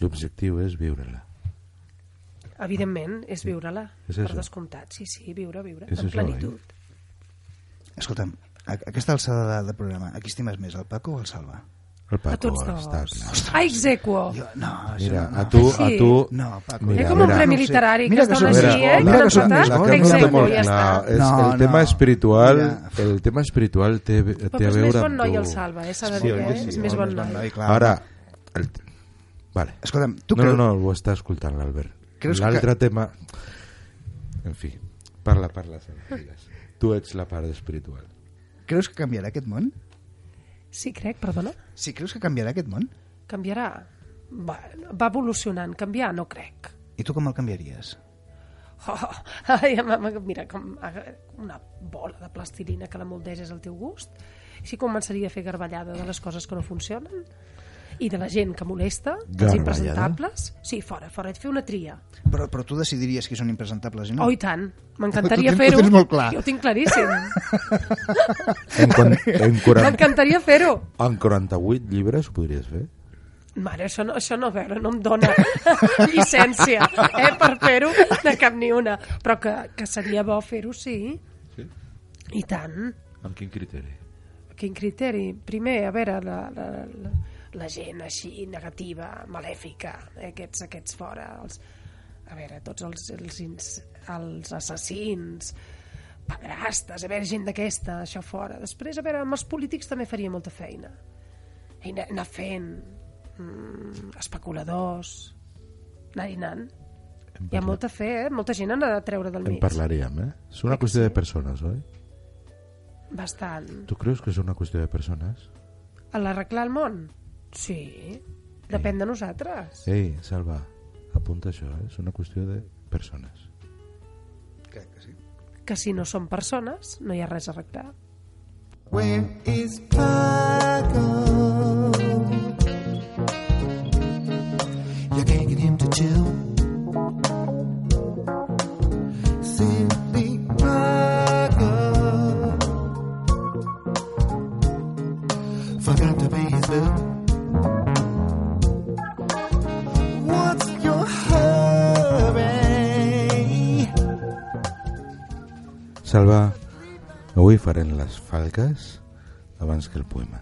Speaker 3: l'objectiu és viure-la
Speaker 4: Evidentment, és viure-la.
Speaker 3: És
Speaker 4: Per
Speaker 3: això.
Speaker 4: descomptat, sí, sí, viure, viure.
Speaker 3: És
Speaker 4: en
Speaker 3: això, eh?
Speaker 4: plenitud.
Speaker 2: Escolta'm, a, aquesta alçada de, de programa, a qui estimes més, el Paco o el Salva?
Speaker 3: el Paco
Speaker 4: A tots dos.
Speaker 3: està clar
Speaker 4: A exequo.
Speaker 2: Jo, no, això
Speaker 3: mira,
Speaker 2: no.
Speaker 3: a tu, a
Speaker 4: Sí.
Speaker 3: tu
Speaker 2: No, Paco.
Speaker 4: Eh,
Speaker 3: mira,
Speaker 4: com un
Speaker 3: mira.
Speaker 4: premi
Speaker 2: No sé.
Speaker 4: literari, que
Speaker 2: Mira que
Speaker 4: està així,
Speaker 2: som-
Speaker 4: eh?
Speaker 2: mira
Speaker 4: Tan
Speaker 2: que som
Speaker 4: tratat.
Speaker 2: més bons.
Speaker 3: que no
Speaker 2: Execo,
Speaker 3: està molt
Speaker 4: ja està.
Speaker 3: clar. És,
Speaker 2: No,
Speaker 3: el tema
Speaker 2: no.
Speaker 3: espiritual,
Speaker 2: Mira.
Speaker 3: el tema espiritual té, té
Speaker 4: Però
Speaker 3: a
Speaker 4: és més
Speaker 3: veure
Speaker 4: bon
Speaker 3: amb
Speaker 4: noi
Speaker 3: tu.
Speaker 4: el Salva, eh? S'ha de
Speaker 3: Sí,
Speaker 4: dir,
Speaker 3: oi
Speaker 4: eh?
Speaker 3: que sí,
Speaker 4: És més bon
Speaker 2: Bon
Speaker 4: noi.
Speaker 2: noi, clar.
Speaker 3: Ara, el... vale.
Speaker 2: Escolta'm, tu
Speaker 3: no,
Speaker 2: creus...
Speaker 3: no, no, ho està escoltant l'Albert.
Speaker 2: Creus que-
Speaker 3: L'altre tema... En fi, parla, parla. Sara, digues. Tu ets la part espiritual.
Speaker 2: Creus que canviarà aquest món?
Speaker 4: Sí, crec, perdona.
Speaker 2: Sí, creus que canviarà aquest món?
Speaker 4: Canviarà. Va, va evolucionant. Canviar no crec.
Speaker 2: I tu com el canviaries?
Speaker 4: Oh, ai, ama- ama- mira, com aga- una bola de plastilina que la moldeges al teu gust. Així començaria a fer garballada de les coses que no funcionen i de la gent que molesta, dels
Speaker 3: Garballada?
Speaker 4: impresentables. Sí, fora, fora, et fer una tria.
Speaker 2: Però, però tu decidiries qui són impresentables i no?
Speaker 4: Oh, i tant,
Speaker 2: Ho
Speaker 4: m'encantaria
Speaker 2: tens- ho
Speaker 4: fer-ho.
Speaker 2: tens molt clar.
Speaker 4: Jo ho tinc claríssim.
Speaker 3: En, quan, en, 40,
Speaker 4: m'encantaria fer-ho.
Speaker 3: en 48 llibres ho podries fer?
Speaker 4: Mare, això no, això no, a veure, no em dóna llicència eh, per fer-ho de cap ni una. Però que, que seria bo fer-ho, sí.
Speaker 3: Sí?
Speaker 4: I tant.
Speaker 3: Amb quin criteri?
Speaker 4: Quin criteri? Primer, a veure, la, la, la, la gent així negativa, malèfica, eh, aquests, aquests fora, els, a veure, tots els, els, ins- els assassins, pedrastes, a veure, gent d'aquesta, això fora. Després, a veure, amb els polítics també faria molta feina. I anar, anar fent mm, especuladors, anar i anant. Hi ha molta fe, eh? molta gent anar a treure del
Speaker 3: En
Speaker 4: mig.
Speaker 3: parlaríem, eh? És una qüestió de persones, oi?
Speaker 4: Bastant.
Speaker 3: Tu creus que és una qüestió de persones?
Speaker 4: A l'arreglar el món? Sí. Depèn de nosaltres.
Speaker 3: Ei, Salva, apunta això, eh? És una qüestió de persones.
Speaker 2: Crec que sí.
Speaker 4: Que si no som persones, no hi ha res a arreglar.
Speaker 1: Where is Paco? You can't get him to chill. Send me Paco. Forgot to pay his bill. What's your hurry?
Speaker 3: Salva, avui farem les falques abans que el poema.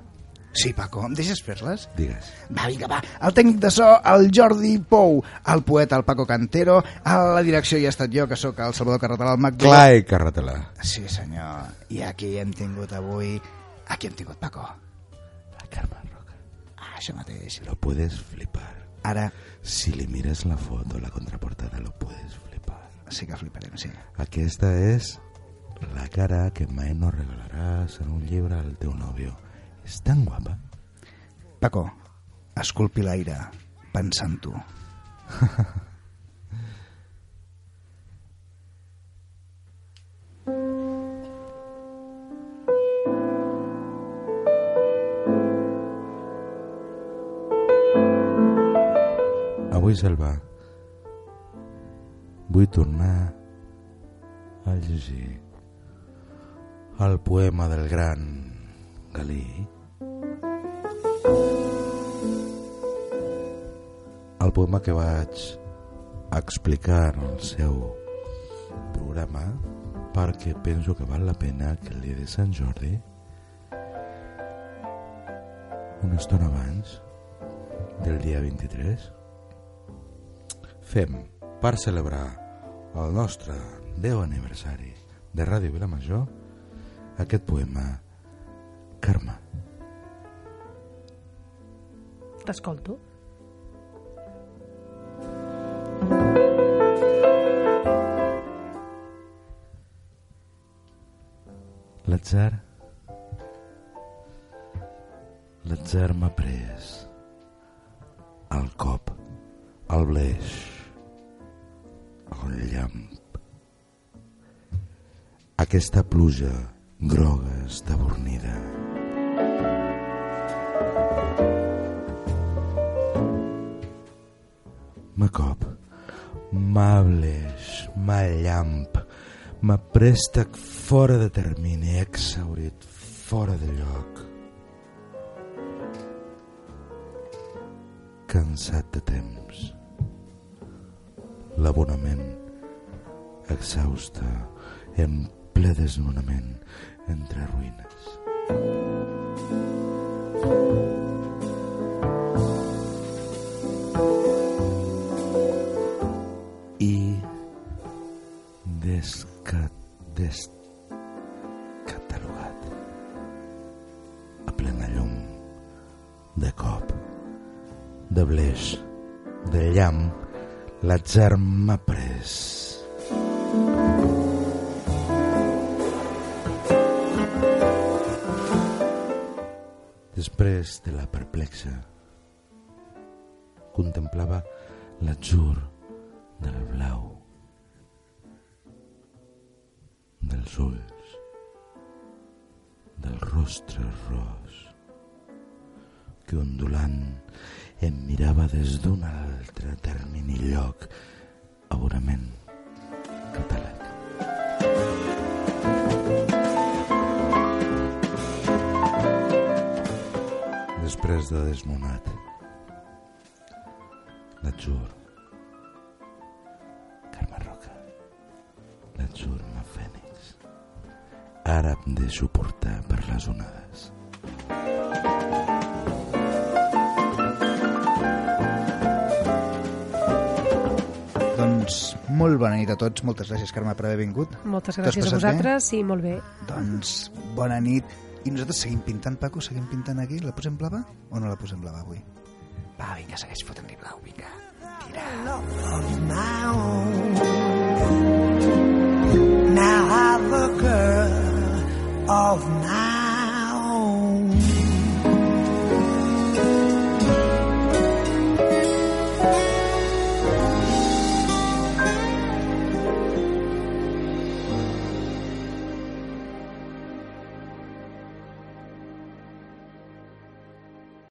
Speaker 2: Sí, Paco, em deixes fer-les?
Speaker 3: Digues.
Speaker 2: Va, vinga, va. El tècnic de so, el Jordi Pou, el poeta, el Paco Cantero, a la direcció hi ha estat jo, que sóc el Salvador Carretalà, el Mac. de-
Speaker 3: Clar i carretelà.
Speaker 2: Sí, senyor. I aquí hem tingut avui... Aquí hem tingut, Paco.
Speaker 3: La Carme Roca.
Speaker 2: Ah, això mateix.
Speaker 3: Lo puedes flipar.
Speaker 2: Ara
Speaker 3: Si li mires la foto, la contraportada, lo puedes flipar.
Speaker 2: sí que fliparem, sí.
Speaker 3: Aquesta és la cara que mai no regalaràs en un llibre al teu nòvio. És tan guapa.
Speaker 2: Paco, esculpi l'aire pensant tu.
Speaker 3: Avui, Salva, vull tornar a llegir el poema del gran Galí. El poema que vaig explicar en el seu programa perquè penso que val la pena que el dia de Sant Jordi una estona abans del dia 23 fem per celebrar el nostre 10 aniversari de Ràdio Vilamajor aquest poema Carme.
Speaker 4: T'escolto.
Speaker 3: L'atzar l'atzar m'ha pres el cop el bleix el llamp aquesta pluja groga estabornida m'ha cop m'ha bleix m'ha llamp m'ha préstec fora de termini exaurit fora de lloc cansat de temps. L'abonament exhausta en ple desnonament entre ruïnes. I desca, descatalogat a plena llum de cop de bleix, de llamp, l'atzar m'ha pres. Després de la perplexa, contemplava l'atzur del blau, dels ulls, del rostre ros, que ondulant em mirava des d'un altre termini lloc, avorament català. Després de desmonat, l'atzur, Carme Roca, l'atzur ma fènix, àrab de suportar per les onades.
Speaker 2: Doncs, Molt bona nit a tots. Moltes gràcies, Carme, per haver vingut.
Speaker 4: Moltes
Speaker 2: T'ho has
Speaker 4: gràcies a
Speaker 2: passat bé?
Speaker 4: vosaltres. Sí, molt bé.
Speaker 2: Doncs bona nit. I nosaltres seguim pintant, Paco, seguim pintant aquí. La posem blava o no la posem blava avui? Va, vinga, segueix fotent-li blau, vinga.
Speaker 1: Now I look girl of my